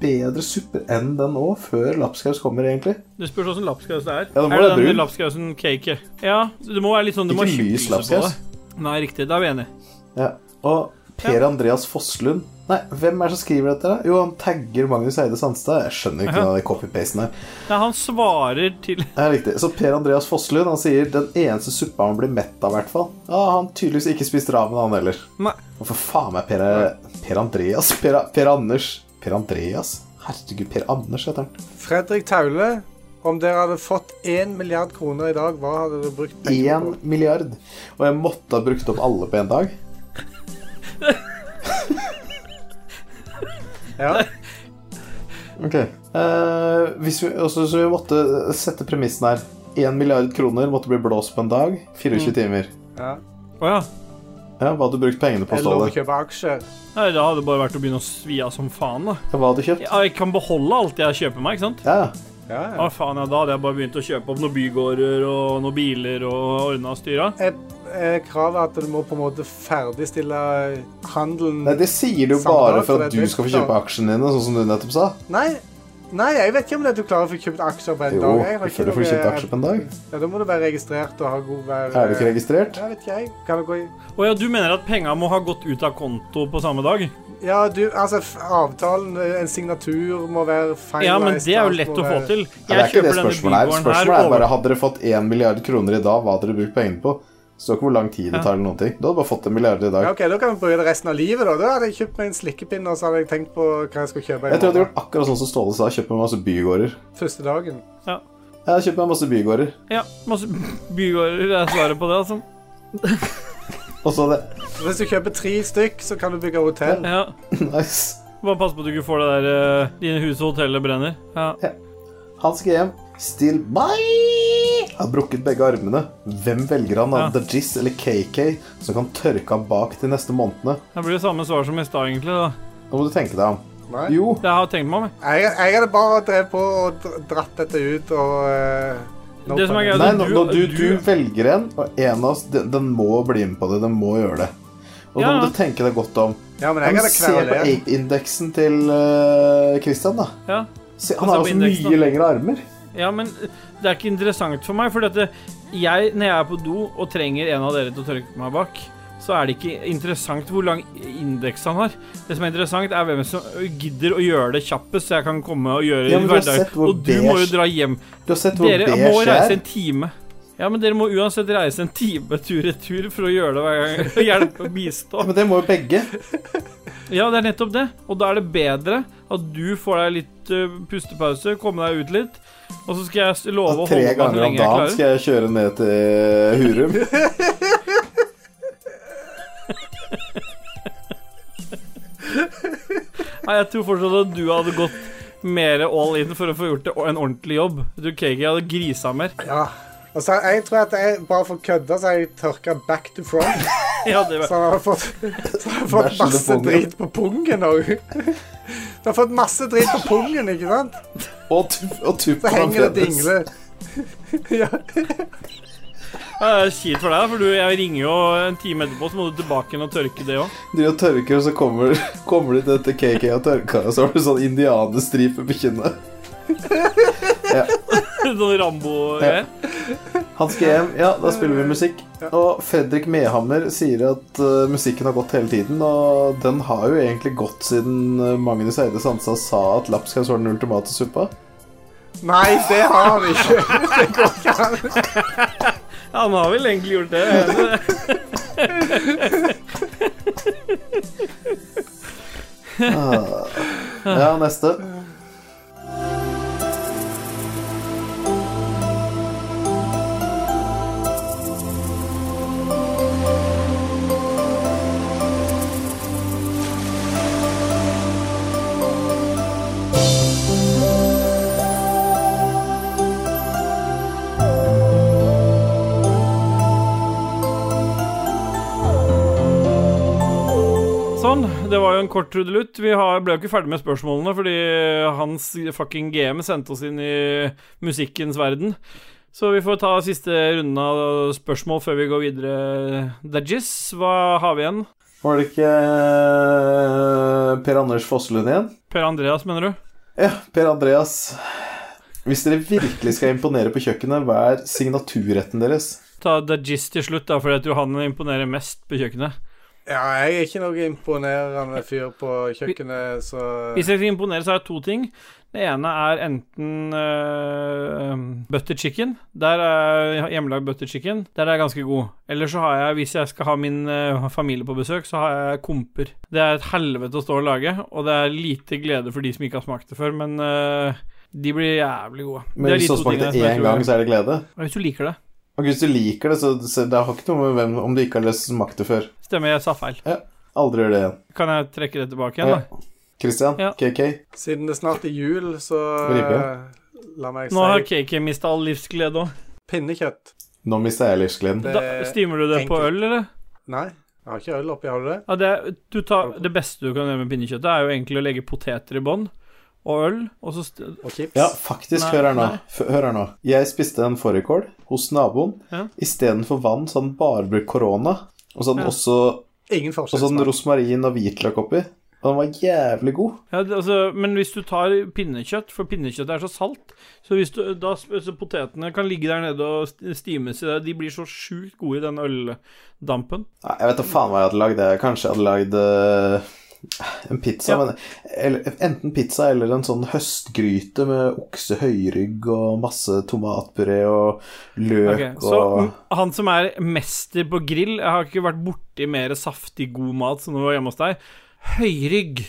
S1: bedre supper enn den nå, før lapskaus kommer, egentlig.
S2: Du spør hvordan lapskaus det er.
S1: Ja, da må
S2: er
S1: det
S2: det den
S1: brun.
S2: lapskausen cake? Ja, det må være litt sånn du må
S1: Ikke
S2: tjuvlyse
S1: lys
S2: på
S1: lapskaus.
S2: det. Nei, riktig. Da er vi enige.
S1: Ja. Og Per Andreas Fosslund Nei, hvem er det som skriver dette? da? Jo, han tagger Magnus Eide Sandstad. Jeg skjønner ikke noe av den copy-pasten her.
S2: Nei, han svarer til
S1: Ja, riktig. Så Per Andreas Fosslund han sier den eneste suppa han blir mett av, i hvert fall. Ja, han tydeligvis ikke spiste ramen, han heller.
S2: Nei.
S1: Og for faen meg Per, per Andreas? Per, per Anders? Per Andreas? Herregud, Per Anders heter han.
S3: Fredrik Taule, om dere hadde fått 1 milliard kroner i dag, hva hadde dere brukt
S1: Én
S3: pengene på?
S1: milliard. Og jeg måtte ha brukt opp alle på én dag.
S3: Ja.
S1: Ok. Eh, hvis vi, også, så vi måtte sette premissen her. Én milliard kroner måtte bli blåst på en dag. 24 timer.
S3: ja.
S2: Å ja.
S1: Ja, hva hadde du brukt pengene på?
S3: Jeg lover å
S1: Ståle?
S3: kjøpe aksjer.
S2: Nei, da hadde det bare vært å begynne å svi av som faen, da.
S1: Hva hadde du kjøpt?
S2: Ja, jeg kan beholde alt jeg kjøper meg, ikke sant?
S1: Ja, ja.
S3: Ja, ja.
S2: Å faen, ja, da hadde jeg bare begynt å kjøpe opp noen bygårder og noen biler og ordna og styra.
S3: Er, eh, er kravet at du må på en måte ferdigstille eh, handelen
S1: Nei, det sier du
S3: Samme
S1: bare
S3: dag, for
S1: for
S3: det
S1: at
S3: er
S1: du
S3: dyrt,
S1: skal få
S3: da.
S1: kjøpe aksjene dine, sånn som du nettopp sa.
S3: Nei, nei, jeg vet ikke om det er du klarer å få kjøpt aksjer på en
S1: Jo,
S3: dag. Jeg har
S1: du
S3: ikke
S1: føler du får
S3: noe-
S1: kjøpt aksjer på en dag.
S3: Ja, Da må du være registrert og ha god vær...
S1: Er du ikke registrert?
S3: Jeg vet ikke, jeg. Kan du gå i
S2: Å ja, du mener at penga må ha gått ut av konto på samme dag?
S3: Ja, du, altså, f- avtalen, eh, en signatur må være finalized.
S2: Ja, men det er jo
S3: alt
S2: lett
S3: må
S2: å få
S3: være-
S2: til.
S1: Nei, det er
S2: Jeg
S1: ikke det
S2: kjøper denne
S1: spørsmålet her.
S2: bygården her
S1: Spørsmålet er
S2: over
S1: bare hadde dere fått 1 milliard kroner i dag, hva hadde dere brukt pengene på? Det står ikke hvor lang tid det tar eller noen ting. Du hadde bare fått en milliard i
S3: Ja,
S1: dag.
S3: ok, Da kan vi bruke det resten av livet. Da Da hadde jeg kjøpt meg en slikkepinne og så hadde jeg tenkt på hva jeg skulle kjøpe. i
S1: Jeg tror jeg hadde
S3: morgen.
S1: gjort akkurat sånn som Ståle sa, kjøpt meg masse bygårder.
S3: Første dagen.
S1: Jeg hadde kjøpt meg masse bygårder.
S2: Ja, masse bygårder er svaret på det, altså.
S1: Og så hadde
S3: Hvis du kjøper tre stykk, så kan du bygge hotell.
S2: Ja.
S1: Nice.
S2: Bare pass på at du ikke får det der eh, Dine hus og hoteller brenner. Ja.
S1: Han skal hjem. Still bye! Har brukket begge armene. Hvem velger han av
S2: Ja.
S1: Dajis eller KK, som kan tørke han bak de neste månedene?
S2: Det blir det samme svar som i stad, egentlig. da
S1: Nå må du tenke deg om.
S3: Nei.
S1: Jo,
S2: Det har jeg tenkt meg om. jeg.
S3: Jeg, jeg hadde bare drevet på og dr- dratt dette ut og eh, no
S2: Det som er greia-
S3: problem.
S1: Nei,
S2: Altså,
S1: når
S2: du-
S1: når du, du,
S2: du-
S1: velger en, og en av oss, den, den må bli med på det. Den må gjøre det. Og da
S2: Ja.
S1: må du tenke deg godt om.
S3: Ja, men
S1: Ja,
S3: jeg
S1: men
S3: hadde
S1: se på
S3: kverulert.
S1: ape-indeksen til uh, Christian, da.
S2: Ja.
S1: Se, han
S2: Se
S1: har
S2: på
S1: jo så
S2: indeksen,
S1: mye
S2: da.
S1: lengre armer.
S2: ja, men eh, det er ikke interessant for meg. For dette, jeg, når jeg er på do og trenger en av dere til å tørke meg bak, så er det ikke interessant hvor lang indeks han har. Det som er interessant, er hvem som gidder å gjøre det kjappest, så jeg kan komme og gjøre
S1: Ja,
S2: det
S1: men
S2: i
S1: du har sett
S2: hverdagen.
S1: hvor
S2: Og du må jo
S1: beige-
S2: dra hjem.
S1: Du har sett hvor
S2: Dere må
S1: beige
S2: reise
S1: jeg er.
S2: en time. Ja, men dere må uansett reise en time tur-retur for å gjøre det hver gang. Og hjelpe og bistå.
S1: Ja, men det må jo begge.
S2: Ja, det er nettopp det. Og da er det bedre at du får deg litt ø, pustepause, komme deg ut litt, og så skal jeg s- love å
S1: Tre
S2: holde meg så
S1: ganger om
S2: lenge jeg
S1: dagen
S2: klarer.
S1: skal jeg kjøre ned til Hurum.
S2: Nei, jeg tror fortsatt at du hadde gått mer all in for å få gjort det, en ordentlig jobb. Du KG hadde grisa mer.
S3: Ja. Og så jeg tror at jeg bare for å kødde, så har jeg tørka back to front.
S2: Ja, det
S3: Så
S2: var...
S3: jeg har fått, så jeg har fått
S1: Bæsjende
S3: masse
S1: pungen.
S3: drit på pungen òg. Du har fått masse drit på pungen, ikke sant?
S1: Og, tu, og tuppen
S3: Så henger det og
S1: fremdeles.
S3: dingler. Ja.
S2: ja, det er kjipt for deg, for du, jeg ringer jo en time etterpå, så må du tilbake igjen og tørke det òg.
S1: Driver og tørker, og så kommer, kommer du til KK og tørker, og så har du sånn indianerstripe på kinnet.
S2: Sånn Rambo-greier.
S1: Han skal hjem, ja, da spiller vi musikk. Og Fredrik Mehammer sier at eh, musikken har gått hele tiden, og den har jo egentlig gått siden eh, Magnus Eide Sandstad sa at lapskaus var den ultimate suppa.
S3: Nei, det har han ikke. Det går ikke an.
S2: Ja, han har vel egentlig gjort det.
S1: Ja, neste.
S2: Sånn, det var jo en kort trudelutt. Vi har, ble jo ikke ferdig med spørsmålene, fordi hans fucking GM sendte oss inn i musikkens verden. Så vi får ta siste runden av spørsmål før vi går videre. Dajis, hva har vi igjen?
S1: Var det ikke eh, Per Anders Fosslund igjen?
S2: Per Andreas, mener du?
S1: Ja, Per Andreas. Hvis dere virkelig skal imponere på kjøkkenet, hva er signaturretten deres?
S2: Ta Dajis til slutt, da, fordi jeg tror han imponerer mest på kjøkkenet.
S3: Ja, jeg er ikke noe imponerende fyr på kjøkkenet, så
S2: Hvis jeg skal imponere, så er det to ting. Det ene er enten øh, butter chicken. Der er hjemmelagd butter chicken. Der er jeg ganske god. Eller så har jeg, hvis jeg skal ha min øh, familie på besøk, så har jeg komper. Det er et helvete å stå og lage, og det er lite glede for de som ikke har smakt det før, men øh, de blir jævlig gode.
S1: Men
S2: Det er de
S1: hvis du
S2: to
S1: har smakt
S2: tingene som
S1: det
S2: jeg
S1: én
S2: tror-
S1: gang, så er det glede.
S2: Ja, Hvis du liker det.
S1: Og hvis du liker det, så, så det har ikke noe med hvem, om du ikke har smakt det før.
S2: Stemmer, jeg sa feil.
S1: Aldri gjør det igjen.
S2: Kan jeg trekke det tilbake igjen, da?
S1: Christian,
S2: Ja.
S1: KK,
S3: siden det snart er jul, så eh,
S1: Ripe.
S3: La meg
S2: Nå har
S3: si
S2: KK mista all livsglede òg.
S3: pinnekjøtt.
S1: nå mista jeg livsgleden.
S3: Det-
S2: Stimer du det på
S3: enkelt.
S2: øl, eller?
S3: Nei, jeg har ikke øl oppi, har du det?
S2: Ja, det, du tar, det beste du kan gjøre med pinnekjøttet, er jo egentlig å legge poteter i bånn og øl, og så st
S3: Og chips?
S1: Ja, faktisk,
S2: Nei,
S1: hør her nå.
S2: nei.
S1: F- Hør her nå. Jeg spiste en fårikål hos naboen.
S2: Ja.
S1: Istedenfor vann så hadde den bare brukt korona. Og så hadde den
S2: Ja.
S1: også
S3: Ingen
S1: og så hadde den
S3: forskjell.
S1: rosmarin og hvitløk oppi. Og den var jævlig god.
S2: ja, det, altså, Men hvis du tar pinnekjøtt, for pinnekjøtt er så salt Så hvis du, da sp- så potetene kan ligge der nede og st- stimes i det De blir så sjukt gode i den øldampen.
S1: Nei, jeg vet da faen hva jeg hadde lagd. Jeg kanskje hadde lagd eh, en pizza.
S2: Ja.
S1: Men, eller, enten pizza eller en sånn høstgryte med oksehøyrygg og masse tomatpuré og løk
S2: Ok, så
S1: og
S2: mm, han som er mester på grill Jeg har ikke vært borti mer saftig, god mat som når vi var hjemme hos deg. Høyrygg.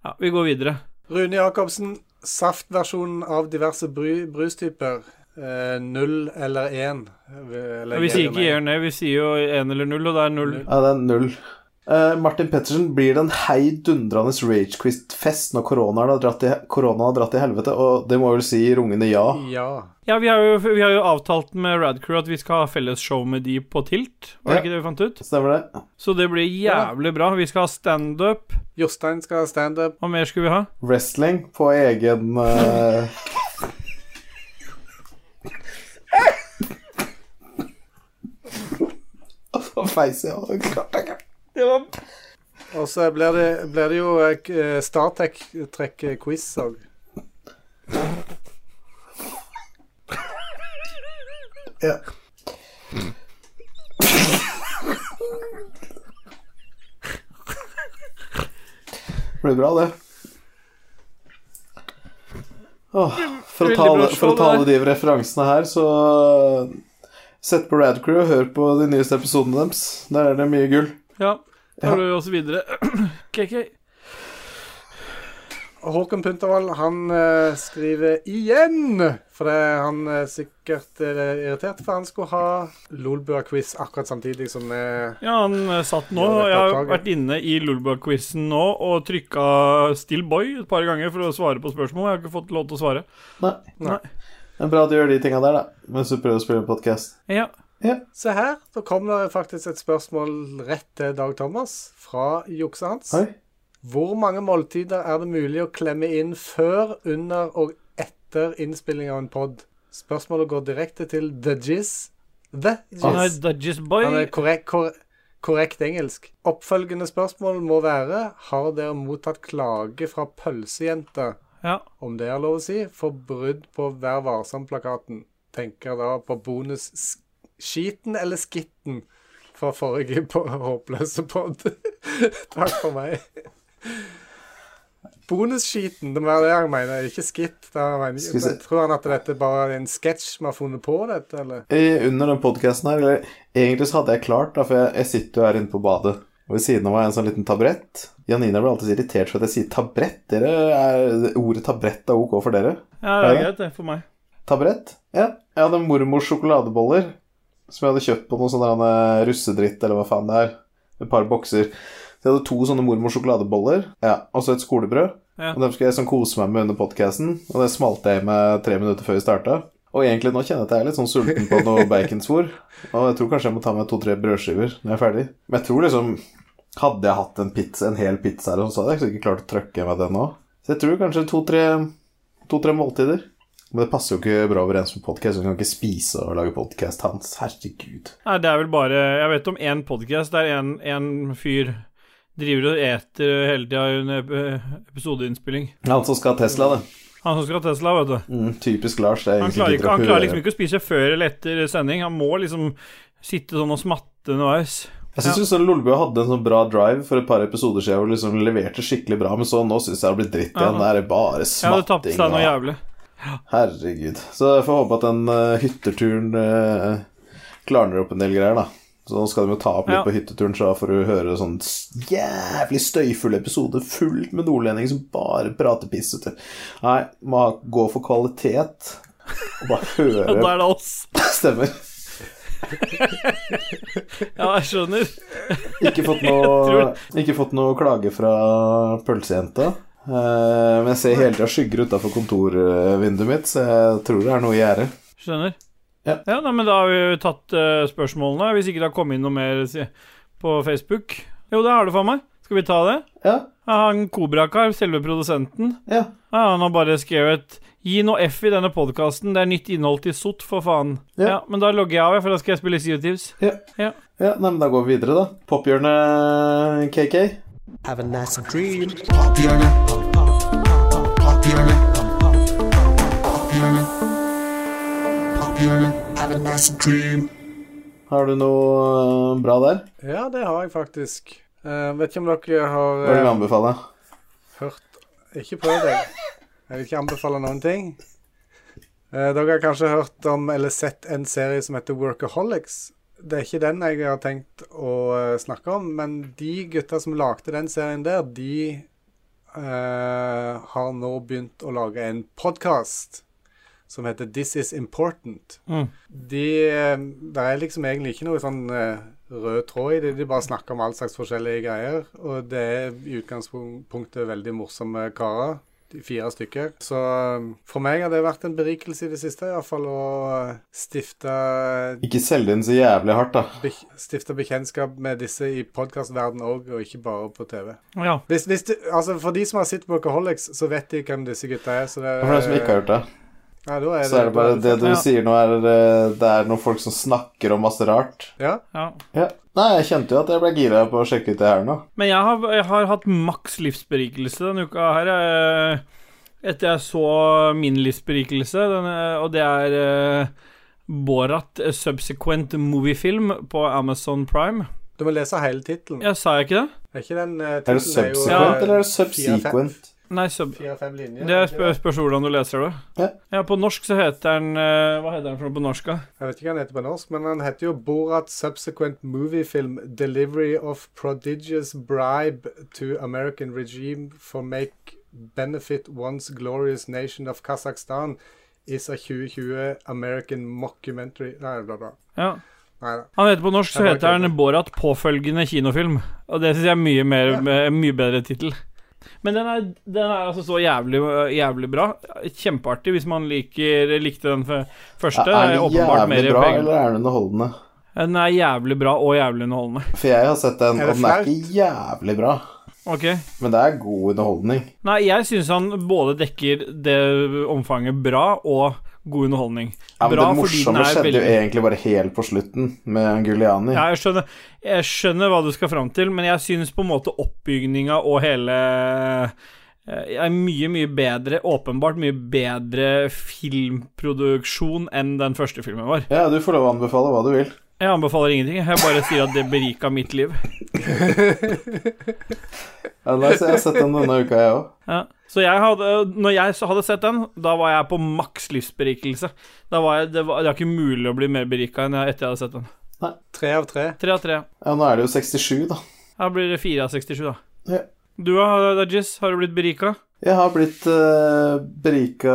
S2: Ja, vi går videre.
S3: Rune Jacobsen, saftversjonen av diverse bru, brustyper. Eh, null eller én.
S2: Og Vi sier ikke gjør ned, vi sier jo én eller null, og det er null.
S1: Ja, det er null. Eh, Martin Pettersen blir det en heidundrende ragequist-fest når koronaen har, dratt i, koronaen har dratt i helvete, og det må vel si rungende ja.
S2: Mm.
S3: Ja.
S2: Ja, vi har, jo, vi har jo avtalt med Radcrew at vi skal ha felles show med de på Tilt. Var det
S1: Ja.
S2: ikke det vi fant ut?
S1: Stemmer det?
S2: Så det blir jævlig bra. Vi skal ha standup.
S3: Jostein skal ha standup.
S2: Hva mer skulle vi ha?
S1: Wrestling på egen eh, Hva feis jeg av? Klarte jeg ikke.
S3: Og så blir det, blir det jo eh, k- eh, Startech-trekk-quiz òg.
S1: Ja. Det blir bra, det. Åh, for, å
S2: Veldig
S1: ta,
S2: bra
S1: alle- for
S2: show,
S1: å ta
S2: det
S1: alle de referansene her, så Sett på Radcrew og hør på de nyeste episodene deres. Der er det mye gull.
S2: Ja. Tar du oss videre? KK.
S3: Håkon Puntervold, han eh, skriver igjen! For det, han er sikkert eh, irritert, for han skulle ha Lolbua-quiz akkurat samtidig som eh,
S2: Ja, han eh, satt nå.
S3: Gjør
S2: og
S3: dette
S2: Jeg har
S3: oppdraget.
S2: vært inne i Lulba-quizen nå og trykka Still Boy et par ganger for å svare på spørsmål. Jeg har ikke fått lov til å svare.
S1: Nei.
S2: Nei.
S1: Det er bra at du gjør de tinga der, da, mens du prøver å spille podkast.
S2: Ja.
S3: Se her, da kom det faktisk et spørsmål rett til Dag Thomas fra jukset hans.
S1: Oi.
S3: Hvor mange måltider er det mulig å klemme inn før, under og etter innspilling av en pod? Spørsmålet går direkte til The Jizz. The
S2: Han er
S3: Jizz.
S2: Dudgies
S3: Han
S2: Boy.
S3: er korrekt, kor korrekt engelsk. Oppfølgende spørsmål må være Har dere mottatt klage fra pølsejenter,
S2: Ja.
S3: om det er lov å si, for brudd på Vær varsom-plakaten? Tenker da på bonus-skiten eller skitten fra forrige på håpløse pod. Takk for meg. Bonusskiten, det var det han mener, ikke skitt. Da mener,
S1: Skal vi se.
S3: jeg tror han at dette bare er en sketsj vi har funnet på, dette, eller?
S1: I- Eh, under den podkasten her, eller egentlig så hadde jeg klart, da, for jeg, jeg sitter jo her inne på badet. Og ved siden av meg er en sånn liten tabrett. Janina blir alltid så irritert for at jeg sier tabrett. Dere er, ordet tabrett er ok for dere?
S2: ja, det er
S1: Ja.
S2: greit, det, for meg.
S1: Tabrett? Ja. Jeg hadde mormors sjokoladeboller som jeg hadde kjøpt på noe sånn der, eh, russedritt, eller hva faen det er. Et par bokser. Så jeg hadde to sånne mormors sjokoladeboller, ja, og så et skolebrød.
S2: Ja.
S1: Og dem skulle jeg sånn kose meg med under podkasten, og det smalt jeg med tre minutter før vi starta. Og egentlig nå kjenner jeg at jeg er litt sånn sulten på noe baconsvor, og jeg tror kanskje jeg må ta meg to-tre brødskiver når jeg er ferdig. Men jeg tror liksom Hadde jeg hatt en, pizza, en hel pizza her, så hadde jeg ikke klart å trøkke meg den nå. Så jeg tror kanskje to-tre to, tre måltider. Men det passer jo ikke bra overens med podkast. Hun kan ikke spise og lage podkast hans. Herregud.
S2: Nei, det er vel bare Jeg vet om én podkast der en, en fyr driver og eter hele tida under ep- episodeinnspilling.
S1: Han som skal ha Tesla, det.
S2: Han som skal ha Tesla, vet du.
S1: Mm, typisk Lars. Det er
S2: Han
S1: egentlig
S2: klarer,
S1: ikke
S2: ikke, han
S1: til å
S2: klarer liksom
S1: høre.
S2: ikke å spise før eller etter sending. Han må liksom sitte sånn og smatte underveis.
S1: Jeg syns ja. Lolebø hadde en sånn bra drive for et par episoder siden hvor hun liksom leverte skikkelig bra, men så nå syns jeg det har blitt dritt igjen. Det er bare
S2: Jeg hadde tapt
S1: smatting.
S2: seg noe
S1: og-
S2: jævlig.
S1: Herregud. Så jeg får håpe at den eh, hytteturen eh, klarner opp en del greier, da. Så nå skal de jo ta opp litt
S2: Ja.
S1: på hytteturen, så da får du høre sånn s- jævlig støyfull episode fullt med nordlendinger som bare prater piss. vet du. Nei, må ha- gå for kvalitet. Og bare
S2: Ja, da
S1: høre
S2: er det oss.
S1: stemmer.
S2: Ja, jeg skjønner.
S1: Ikke fått noe, ikke fått noe klage fra pølsejenta. Eh, men jeg ser hele tida skygger utafor kontorvinduet mitt, så jeg tror det er noe i gjære.
S2: Skjønner.
S1: Ja.
S2: nei, men da har vi jo tatt eh, spørsmålene. Hvis ikke det har kommet inn noe mer si, på Facebook. Jo, det har du for meg. Skal vi ta det?
S1: Ja,
S2: Ja, Han Kobrakar, selve produsenten,
S1: ja.
S2: ja, han har bare skrevet Gi noe F i denne podkasten. Det er nytt innhold til sott, for faen.
S1: Ja.
S2: Ja. Men da logger jeg av, jeg, for da skal jeg spille Seotives.
S1: Ja, nei, men da går vi videre, da. Pophjørnet KK.
S5: Have a nice dream.
S1: Har du noe eh, bra der?
S3: Ja, det har jeg faktisk. Eh, vet ikke om dere har
S1: Hva vil du
S3: eh,
S1: anbefale?
S3: hørt Ikke prøv deg. Jeg vil ikke anbefale noen ting. Eh, dere har kanskje hørt om eller sett en serie som heter Workaholics. Det er ikke den jeg har tenkt å eh, snakke om, men de gutta som lagde den serien der, de eh, har nå begynt å lage en podkast som heter This Is Important.
S2: Mm.
S3: De Det er liksom egentlig ikke noe sånn eh, rød tråd i det. De bare snakker om all slags forskjellige greier. Og det er i utgangspunktet veldig morsomme karer. De fire stykker. Så eh, for meg har det vært en berikelse i det siste, iallfall å eh, stifte
S1: Ikke selge inn så jævlig hardt, da.
S3: bek- Stifte bekjentskap med disse i podkastverdenen òg, og ikke bare på TV.
S2: Ja.
S3: Hvis, hvis du, altså For de som har sett Workaholics, så vet de hvem disse gutta er. Så det,
S1: For dem som ikke har gjort det,
S3: ja, da er
S1: så er det bare det du
S2: Ja.
S1: sier nå, er eh, det er noen folk som snakker om masse rart.
S3: Ja.
S2: ja.
S1: Ja. Nei, jeg kjente jo at jeg ble gira på å sjekke ut det her nå.
S2: Men jeg har, jeg har hatt maks livsberikelse denne uka her. eh, Etter jeg så min livsberikelse, den, eh, og det er eh, Borat eh, Subsequent Moviefilm på Amazon Prime.
S3: Du må lese hele tittelen.
S2: Ja, sa jeg ikke det?
S3: Er ikke den uh,
S1: Er det subsequent,
S2: Ja.
S1: eller er det subsequent?
S2: Nei, sub...
S3: Fire-fem linjer.
S2: Det
S3: ikke
S2: spør, spørs hvordan du leser det.
S1: Ja.
S2: på norsk så heter den eh, Hva heter den for noe på norsk, da?
S3: Jeg vet ikke hva han heter på norsk, men han heter jo Borat Subsequent Movie Film Delivery of Prodigious Bribe to American Regime for Make Benefit One's Glorious Nation of Kazakhstan is a 2020 American Mockumentary Nei, bla, bla.
S2: Ja.
S3: Nei da.
S2: Han heter på norsk så
S3: Jeg bare
S2: heter den
S3: kødder.
S2: Borat påfølgende kinofilm. Og det syns jeg er mye, mer, en mye bedre tittel. Men den er, den er altså så jævlig, jævlig bra. Kjempeartig hvis man liker, likte den f- første.
S1: Er det
S2: åpenbart mer
S1: jævlig bra,
S2: penger.
S1: eller er det underholdende?
S2: Den er jævlig bra og jævlig underholdende.
S1: For jeg har sett den,
S3: Er
S1: og
S3: det
S1: den er
S3: flaut?
S1: ikke jævlig bra.
S2: Ok.
S1: Men det er god underholdning.
S2: Nei, jeg syns han både dekker det omfanget bra og god underholdning.
S1: Ja, men
S2: bra
S1: det morsomme skjedde jo egentlig bare helt på slutten, med Guliani.
S2: Ja, jeg skjønner, jeg skjønner hva du skal fram til, men jeg syns på en måte oppbygninga og hele eh, er mye, mye bedre, åpenbart mye bedre filmproduksjon enn den første filmen var.
S1: Ja, du får lov å anbefale hva du vil.
S2: Jeg anbefaler ingenting, jeg bare sier at det berika mitt liv.
S1: Ja, nei, så jeg har sett den denne uka, jeg òg.
S2: Ja. Så jeg hadde, når jeg så hadde sett den, da var jeg på maks livsberikelse. Da var jeg, det, var, det var ikke mulig å bli mer berika enn jeg etter jeg hadde sett den.
S3: Tre av tre.
S2: Tre av tre.
S1: Ja, nå er det jo 67, da.
S2: Da blir det fire av 67, da.
S1: Ja.
S2: Du da, Dajis, har du blitt berika?
S1: Jeg har blitt uh, berika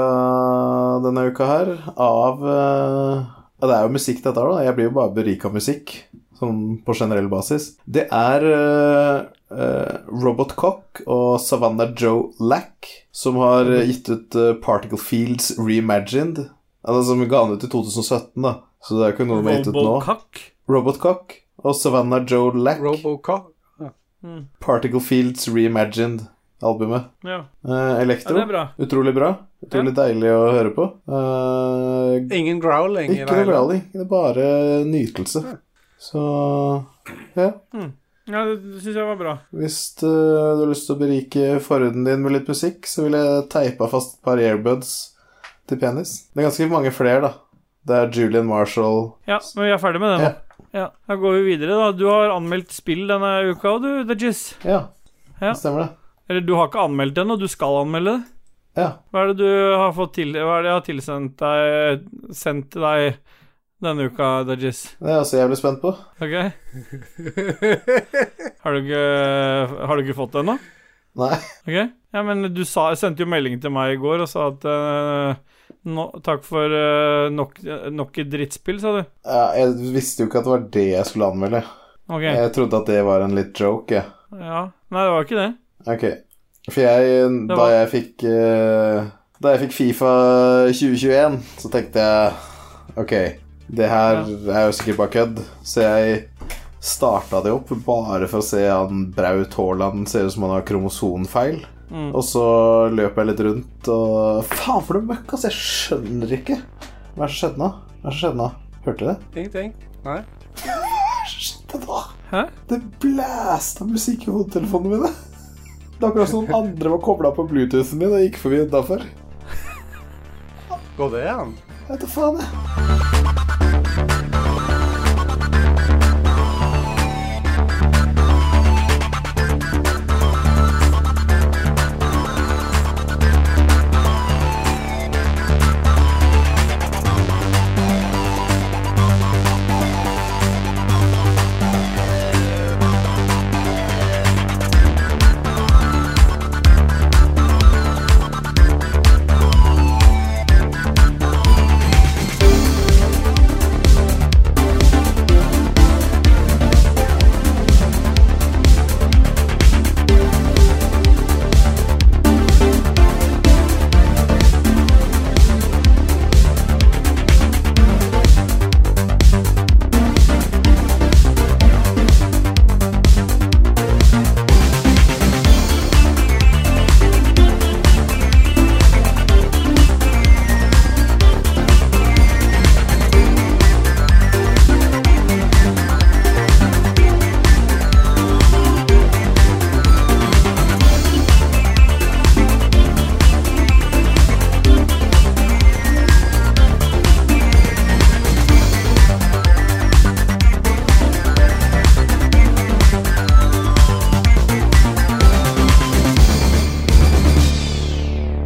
S1: denne uka her av eh, Ja, det er jo musikk dette her, da. Jeg blir jo bare berika av musikk, sånn på generell basis. Det er eh, eh, Robot Cock og Savannah Joe Lack som har
S2: Mhm.
S1: eh, gitt ut eh, Particle Fields Reimagined. Altså som ga den ut i 2017, da. Så det er jo ikke noe de har gitt ut nå.
S2: Robocop?
S1: Robot Cock og Savannah Joe Lack.
S3: Robocop.
S1: Particle Fields Reimagined-albumet.
S2: Ja.
S1: Eh,
S2: ja,
S1: Elektro.
S2: det er bra.
S1: Utrolig bra. Utrolig deilig å høre på. Eh,
S3: Ingen growling i
S1: ikke
S3: det
S1: noe
S3: hele.
S1: rally, det er bare nytelse. Så ja.
S2: Ja, det det syns jeg var bra.
S1: Hvis eh, du har lyst til å berike forhuden din med litt musikk, så vil jeg teipa fast et par airbuds til penis. Det er ganske mange flere, da. Det er Julian Marshall
S2: Ja, men vi er ferdig med det nå. Ja, Da går vi videre, da. Du har anmeldt spill denne uka, du, Dajis.
S1: Ja, det
S2: Ja.
S1: stemmer det.
S2: Eller du har ikke anmeldt det ennå, du skal anmelde det.
S1: Ja.
S2: Hva er det du har fått til Hva er det jeg har tilsendt deg Sendt til deg denne uka, Dajis?
S1: Det er jeg også jævlig spent på.
S2: Ok? Har du ikke, har du ikke fått det ennå?
S1: Nei.
S2: Ok? Ja, men du sa, sendte jo melding til meg i går og sa at eh, nå- Takk for eh, nok, nok et drittspill, sa du.
S1: Ja, jeg visste jo ikke at det var det jeg skulle anmelde.
S2: Ok.
S1: Jeg trodde at det var en litt joke, jeg.
S2: Ja. Nei, det var ikke det.
S1: Ok. For jeg,
S2: Det
S1: da
S2: var-
S1: jeg fikk eh, Da jeg fikk Fifa 2021, så tenkte jeg Ok, det her er jo sikkert bare kødd, så jeg starta det opp bare for å se han Braut Haaland ser ut som han har kromosonfeil.
S2: Mm.
S1: Og så løp jeg litt rundt og Faen for noe møkk, altså! Jeg skjønner ikke. Hva er det som skjedde nå? Hva er det som skjedde nå? Hørte du det?
S3: Ingenting. Nei.
S1: Shit, det var-
S2: Hæ?
S1: Det blæsta musikk i hodetelefonene mine. Det er akkurat som noen andre var kobla på bluetoothen min og gikk forbi utafor.
S3: Går det an?
S1: Jeg vet da faen, jeg.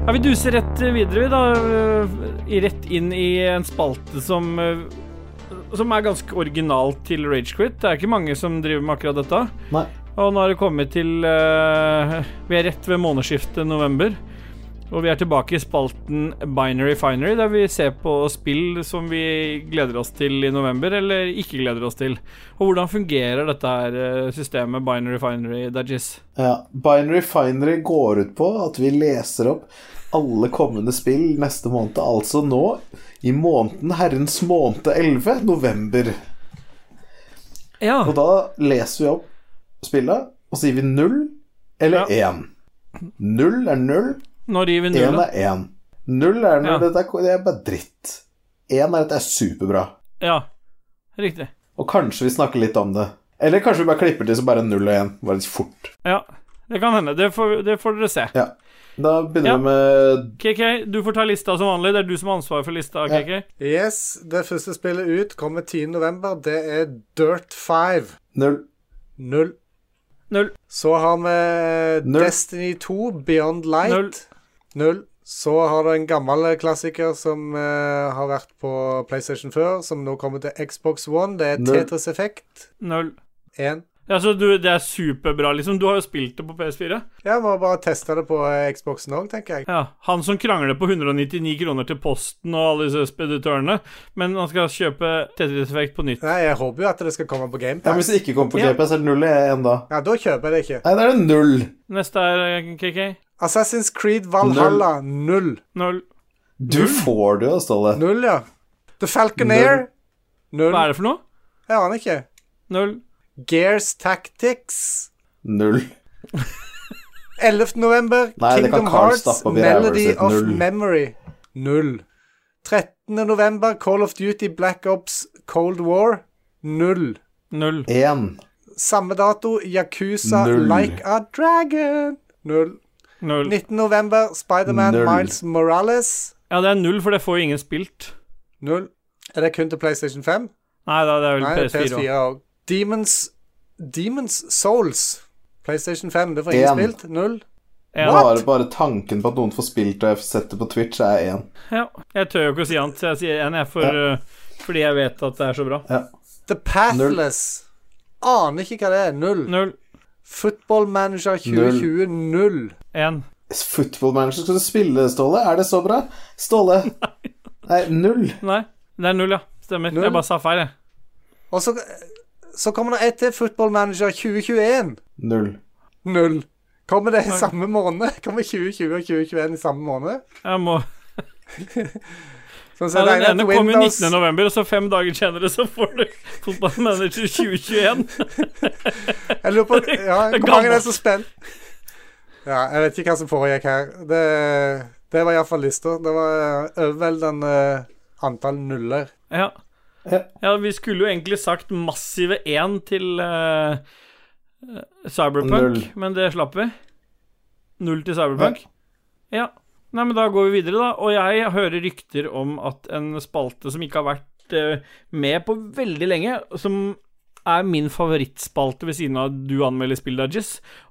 S2: Ja, Vi duser rett videre, vi, da. eh, Rett inn i en spalte som eh, Som er ganske original til Ragequit. Det er ikke mange som driver med akkurat dette.
S1: Nei.
S2: Og nå har det kommet til eh, Vi er rett ved månedsskiftet november. Og vi er tilbake i spalten Binary Finery, der vi ser på spill som vi gleder oss til i november, eller ikke gleder oss til. Og hvordan fungerer dette her eh, systemet, Binary Finery, Dajis?
S1: Ja. Binary Finery går ut på at vi leser opp alle kommende spill neste måned, altså nå i måneden herrens måned 11, november.
S2: Ja.
S1: Og da leser vi opp spillet, og sier vi null eller én. Null er null,
S2: Nå river vi
S1: Én
S2: nullet.
S1: er én. Null er null.
S2: Ja.
S1: Dette er, det er bare dritt. Én er at det er superbra.
S2: Ja. Riktig.
S1: Og kanskje vi snakker litt om det. Eller kanskje vi bare klipper til så bare null og én. Bare litt fort.
S2: Ja, det kan hende. Det får, det får dere se.
S1: Ja. Da begynner
S2: Ja.
S1: vi med
S2: KK, du får ta lista som vanlig. Det er du som har ansvaret for lista,
S1: Ja.
S2: KK.
S3: Yes, det første spillet ut kommer 10.11. Det er Dirt 5.
S1: null.
S3: Null.
S2: Null.
S3: Så har vi
S1: Null.
S3: Destiny 2, Beyond Light.
S2: Null.
S3: Null. Så har du en gammel klassiker som eh, har vært på PlayStation før, som nå kommer til Xbox One. Det er
S1: Null.
S3: Tetris Effect
S2: Null.
S3: 1.
S2: Ja, så du, det er superbra, liksom. Du har jo spilt det på PS4.
S3: Ja, må bare teste det på eh, Xboxen òg, tenker jeg.
S2: Ja. Han som krangler på 199 kroner til Posten og alle disse speditørene, men han skal kjøpe Tetris Effect på nytt.
S3: Nei, jeg håper jo at det skal komme på
S1: Ja, men
S3: GamePass.
S1: hvis det ikke kommer på
S2: Ja.
S1: GPS, er det null og én da.
S3: Ja, da kjøper jeg det ikke.
S1: Nei, da er det null.
S2: Neste er eh, KK.
S3: Assassin's Creed Valhalla, null.
S2: Null.
S1: Du får det jo, Ståle.
S3: Null, ja. The Falconeer, null.
S2: Hva er det for noe?
S3: Jeg aner ikke.
S2: Null.
S3: Gears Tactics,
S1: Null.
S3: 11. november,
S1: Nei, det
S3: Kingdom
S1: kan Carl
S3: Hearts,
S1: stappe opp i ræva
S3: Melody
S1: sitt.
S3: of
S1: Null.
S3: Memory. Null. 13. november, Call of Duty, Black Ops, Cold War. Null.
S2: Null.
S1: Én.
S3: Samme dato, Yakuza,
S1: Null.
S3: Like a Dragon. Null.
S2: Null.
S3: 19. november, Spiderman,
S1: Null.
S3: Miles Morales.
S2: Ja, det er null, for det får jo ingen spilt.
S3: Null. Er det kun til PlayStation 5?
S2: Nei, da, det er vel
S3: Nei, det er
S2: PS4 òg.
S3: PS4 òg. Demons, Demons Souls. PlayStation 5, det får ingen
S1: En.
S3: spilt. Null.
S1: Bare, bare tanken på at noen får spilt og jeg setter på Twitch, er én.
S2: Ja. Jeg tør jo ikke å si annet, så jeg sier én, jeg, for, eh, fordi jeg vet at det er så bra.
S3: The Pathless. Aner ikke hva det er. Null.
S2: Null.
S3: Football Manager 2020, null.
S2: Én.
S1: Football Manager skal du spille, Ståle? Er det så bra? Ståle? Nei, null.
S2: Nei, det er null, ja. Stemmer.
S3: Null.
S2: Jeg bare sa feil, jeg.
S3: Og så, så kommer det et til. Football Manager 2021,
S1: Null.
S3: null. Kommer det i samme måned? Kommer 2020 og 2021 i samme måned?
S2: jeg må...
S3: Sånn, så
S2: Ja,
S3: det
S2: den
S3: ene
S2: ene
S3: til
S2: kom jo
S3: Windows-
S2: 19. november, og så fem dager senere så får du Football Manager 2021.
S3: Jeg lurer på ja,
S2: Det er
S3: hvor mange det er
S2: gammelt.
S3: som spiller. Ja, jeg vet ikke hva som foregikk her. Det, det var iallfall lista. Det var eh, overveldende antall nuller.
S2: Ja.
S1: Ja.
S2: ja, vi skulle jo egentlig sagt massive én til eh, eh, Cyberpunk,
S1: Null.
S2: men det slapp vi. Null til Cyberpunk. Ja. Nei, men da går vi videre, da. Og jeg hører rykter om at en spalte som ikke har vært eh, med på veldig lenge, som er min favorittspalte ved siden av du anmelder spill, Dajis,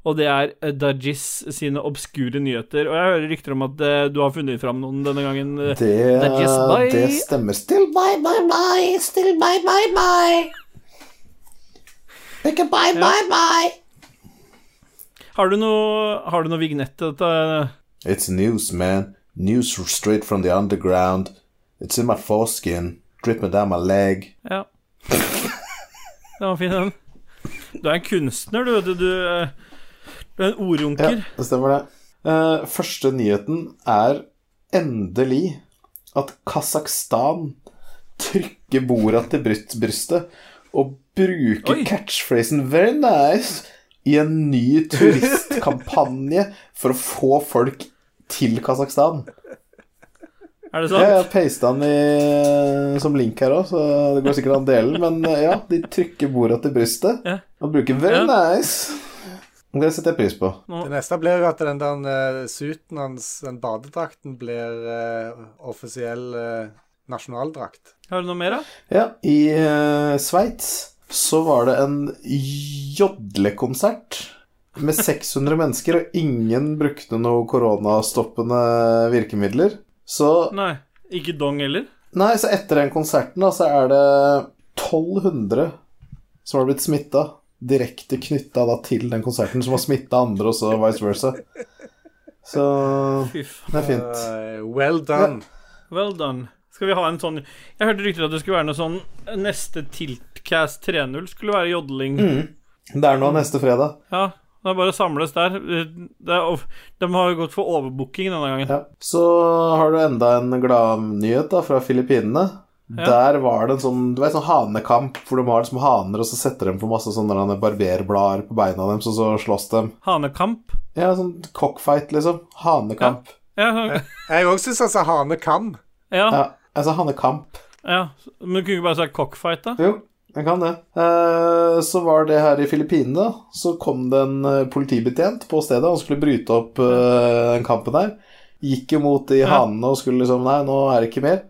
S2: og det er eh, Dajis sine obskure nyheter. Og jeg hører rykter om at eh, du har funnet fram noen denne gangen. eh,
S1: Det,
S2: That is my-
S1: det stemmer. Still my,
S4: Bye bye bye, still bye bye bye. Ikke bye bye bye.
S2: Har du noe, har du noe vignett til dette?
S1: It's news, man. News straight from the underground. It's in my foreskin. Dripping down my leg.
S2: Ja. Den var fin, den. Du er en kunstner, du. vet Du, du, eh, du er en
S1: Ja,
S2: ordrunker.
S1: det stemmer det. Eh, første nyheten er endelig at Kasakhstan trykker borda til bryt- brystet og bruker
S2: Oi.
S1: catchphrasen 'very nice' i en ny turistkampanje for å få folk til Kasakhstan.
S2: Er det
S1: Ja, Jeg
S2: sant?
S1: har pasta den i, som link her òg, så det går sikkert an å dele den. Men eh, ja, de trykker bordet til brystet
S2: Ja.
S1: og bruker 'very
S2: Ja.
S1: nice'. Det setter jeg pris på.
S3: Det neste blir jo at den der eh, suiten hans, den badedrakten, blir eh, offisiell eh, nasjonaldrakt.
S2: Har du noe mer, da?
S1: Ja, i uh, Sveits så var det en jodlekonsert med 600 mennesker, og ingen brukte noe koronastoppende virkemidler. Så
S2: Nei. Ikke dong heller?
S1: Nei, så etter den konserten da, så er det 1200 som har blitt smitta. Direkte knytta da til den konserten, som har smitta andre, og så vice versa. Så
S2: Fy faen.
S1: det er fint.
S3: Eh, well done.
S2: Well done. Skal vi ha en sånn Jeg hørte rykter at det skulle være noe sånn Neste Tiltcast 3.0 skulle være jodling.
S1: Mm. Det er nå neste fredag.
S2: Ja. Det er bare å samles der. Det er, of- de har jo gått for overbooking denne gangen.
S1: Ja. Så har du enda en gladnyhet da, fra Filippinene. Der var det en sånn du vet, sånn hanekamp, hvor de har liksom haner, og så setter de på masse sånne barberblader på beina deres, og så slåss de.
S2: Hanekamp.
S1: Ja, sånn cockfight, liksom. Hanekamp.
S2: Ja, sånn-
S3: Jeg òg syns altså hane kan.
S2: ja,
S1: Ja, altså hanekamp.
S2: ja. Men du kunne ikke bare sagt cockfight, da?
S1: Jo, jeg kan det. Eh, så var det her i Filippinene, da. Så kom det en eh, politibetjent på stedet. Han skulle bryte opp eh, den kampen her. Gikk jo mot de hanene og skulle liksom Nei, nå er det ikke mer.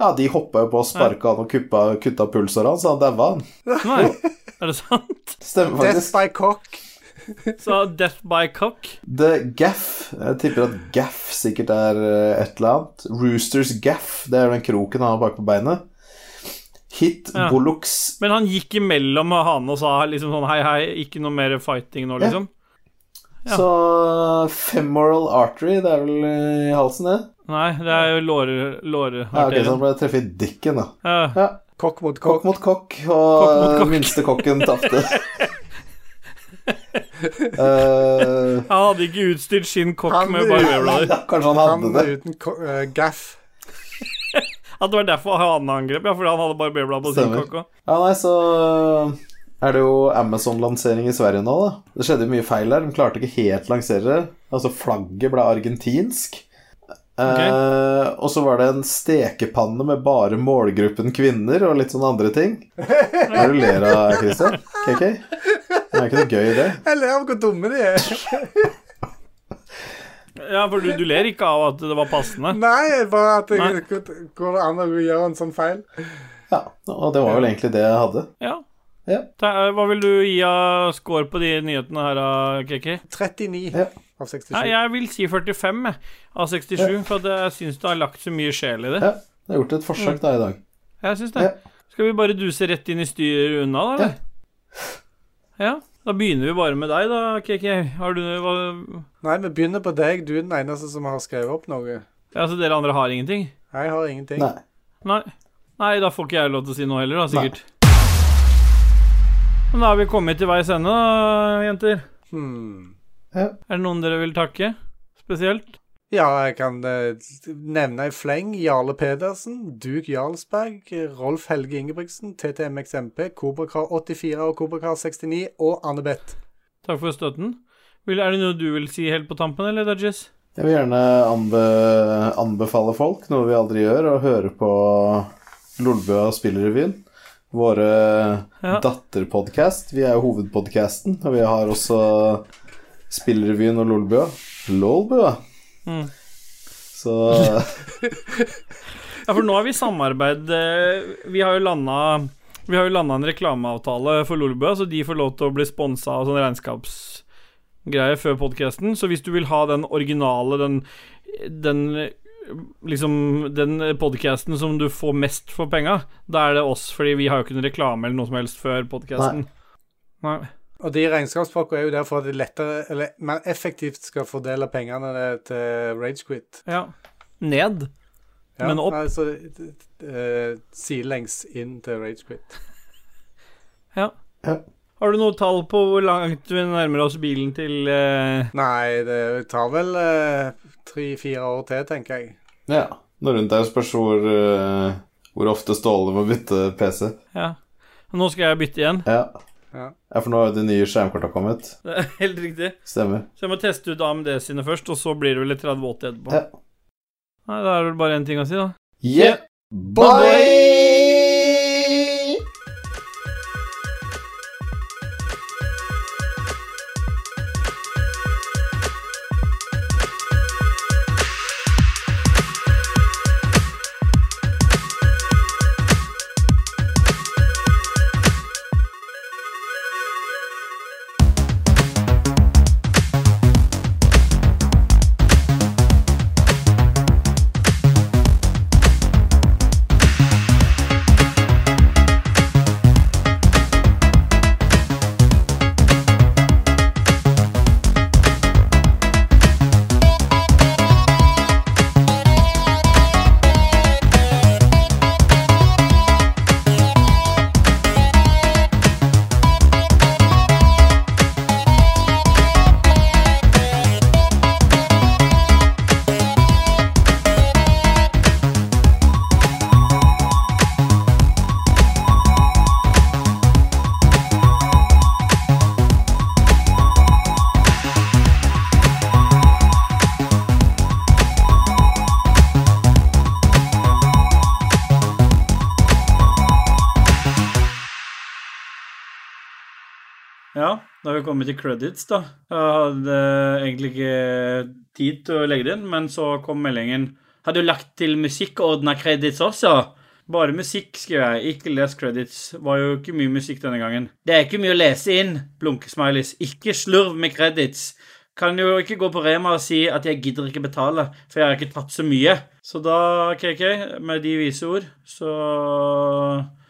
S1: Ja, de hoppa jo på og sparka han og kuppa, kutta pulsåret hans, så han daua, han.
S2: Nei. Er det sant?
S1: Stemmer
S3: Death
S1: faktisk.
S3: by cock.
S2: Så death by cock.
S1: The Gaff. Jeg tipper at Gaff sikkert er eh, et eller annet. Roosters Gaff, det er den kroken han har bak på beinet. Hit
S2: Ja.
S1: Bollocks
S2: Men han gikk imellom hane og sa liksom sånn hei, hei, ikke noe mer fighting nå, liksom? Ja.
S1: Så eh, femoral artery, det er vel i halsen, det?
S2: Nei, det er jo lårer...
S1: Ja, ok, så han
S2: lårearterien.
S1: ble truffet i dikken, da.
S2: Ja,
S1: Ja.
S3: Kokk mot
S1: Kokk
S3: kokk.
S1: mot kokk, og
S2: Kokk mot kokk.
S1: minste kokken tapte. Eh,
S2: han hadde ikke utstyrt sin kokk
S3: Han-
S2: med barberblader.
S1: ja, kanskje han
S3: Han
S1: hadde det.
S3: uten ko- eh, gaff.
S2: At det var derfor han angrep, ja, fordi han hadde barberblad på sin
S1: Stemmer.
S2: kokk òg.
S1: Ja, nei, så eh, er det jo Amazon-lansering i Sverige nå, da. Det skjedde jo mye feil der. De klarte ikke helt lansere det. Altså, flagget ble argentinsk. Eh, og så var det en stekepanne med bare målgruppen kvinner og litt sånne andre ting. Hva er det du ler av, Christian? KK? Det er ikke noe gøy, det.
S3: Jeg ler av hvor dumme de er.
S2: Ja, for du, du ler ikke av at det var passende?
S3: Nei, bare at
S2: Nei.
S3: det går det an å gjøre en sånn feil.
S1: Ja, Og det var vel egentlig det jeg hadde.
S2: Ja.
S1: Ja.
S2: Ta- eh, Hva vil du gi av score på de nyhetene her, da, KK?
S3: 39
S1: Ja.
S3: av 67.
S2: Nei, jeg vil si 45 jeg, av 67, for at jeg syns du har lagt så mye sjel i det.
S1: Ja, Jeg har gjort et forsøk da i dag.
S2: Jeg syns det. Skal vi bare duse rett inn i styr unna, da, eller? Ja. Da begynner vi bare med deg, da, KK. Har du hva,
S3: Nei, vi begynner på deg. Du er den eneste som har skrevet opp noe.
S2: Ja, Så dere andre har ingenting?
S3: Jeg har ingenting.
S1: Nei.
S2: Nei. Nei, da får ikke jeg lov til å si noe heller, da, sikkert. Men da har vi kommet til veis ende, da, jenter.
S3: Hmm.
S2: Er det noen dere vil takke spesielt?
S3: Ja, jeg kan eh, nevne i fleng Jarle Pedersen, Duke Jarlsberg, Rolf Helge Ingebrigtsen, TTMXMP, Kobrakar 84 og Kobrakar 69 og Anne-Beth.
S2: Takk for støtten. Vil, er det noe du vil si helt på tampen, eller, Dodges?
S1: Jeg vil gjerne anbe anbefale folk, noe vi aldri gjør, å høre på Lolbua spillrevyen. Våre
S2: Ja.
S1: datterpodkast. Vi er jo hovedpodkasten, og vi har også spillrevyen og Lolbua. Lolbua!
S2: Mm.
S1: Så
S2: Ja, for nå har vi samarbeid eh, Vi har jo landa Vi har jo landa en reklameavtale for Lolbua, så de får lov til å bli sponsa av sånn regnskapsgreie før podkasten. Så hvis du vil ha den originale, den, den eh, Liksom den podkasten som du får mest for penga, da er det oss, fordi vi har jo ikke noen reklame eller noe som helst før podkasten. Nei.
S3: Og de regnskapsfolka er jo der for at de lettere, eller mer effektivt skal fordele pengene til Ragequit.
S2: Ja. Ned. Men opp.
S3: Altså eh, sidelengs inn til Ragequit.
S2: Ja.
S1: Ja.
S2: Har du noe tall på hvor langt vi nærmer oss bilen til eh,
S3: Nei, det tar vel tre-fire år til, tenker jeg.
S1: ja. Noe rundt der spørs hvor, eh, hvor ofte Ståle må bytte PC.
S2: Ja. Nå skal jeg bytte igjen.
S1: Ja.
S3: Ja.
S1: ja, for nå har jo de nye skjermkorta kommet.
S2: Det er helt riktig.
S1: Stemmer.
S2: Så jeg må teste ut AMD sine først, og så blir det vel et 3080 etterpå.
S1: Ja.
S2: Nei, da er det vel bare én ting å si, da.
S1: Yeah! Bye!
S2: Ja, da har vi kommet til credits, da. Jeg hadde egentlig ikke tid til å legge det inn, men så kom meldingen. Har du lagt til musikk og ordna credits også? Bare musikk, skrev jeg. Ikke les credits. Var jo ikke mye musikk denne gangen. Det er ikke mye å lese inn, blunkesmileys. Ikke slurv med credits. Kan jo ikke gå på Rema og si at jeg gidder ikke betale, for jeg har ikke tatt så mye. Så da, KK, med de vise ord, så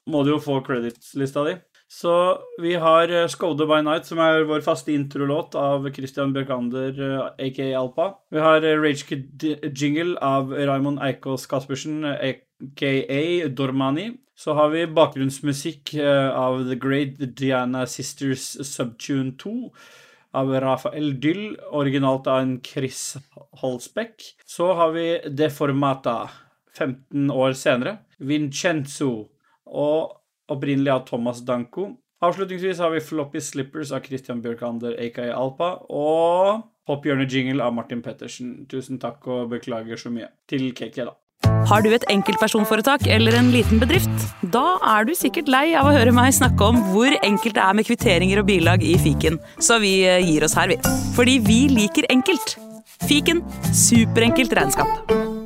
S2: må du jo få credits-lista di. Så vi har eh, Skoda by Night, som er vår faste introlåt av Christian Bjørkander, eh, aka Alpa. Vi har eh, Rage Kid Jingle av Raymond Eikås Caspersen, eh, aka Dormani. Så har vi bakgrunnsmusikk eh, av The Great Diana Sisters Subtune 2 av Rafael Dyll, originalt av en Chris Holsbeck. Så har vi Deformata, 15 år senere. Vincenzo, og opprinnelig av Thomas Danko. Avslutningsvis har vi Floppy Slippers av Christian Bjørkander, aka Alpa, og Pophjørne-jingle av Martin Pettersen. Tusen takk og beklager så mye. Til KK, da.
S7: Har du et enkeltpersonforetak eller en liten bedrift? Da er du sikkert lei av å høre meg snakke om hvor enkelt det er med kvitteringer og bilag i fiken, så vi eh, gir oss her, vi. Fordi vi liker enkelt. Fiken superenkelt regnskap.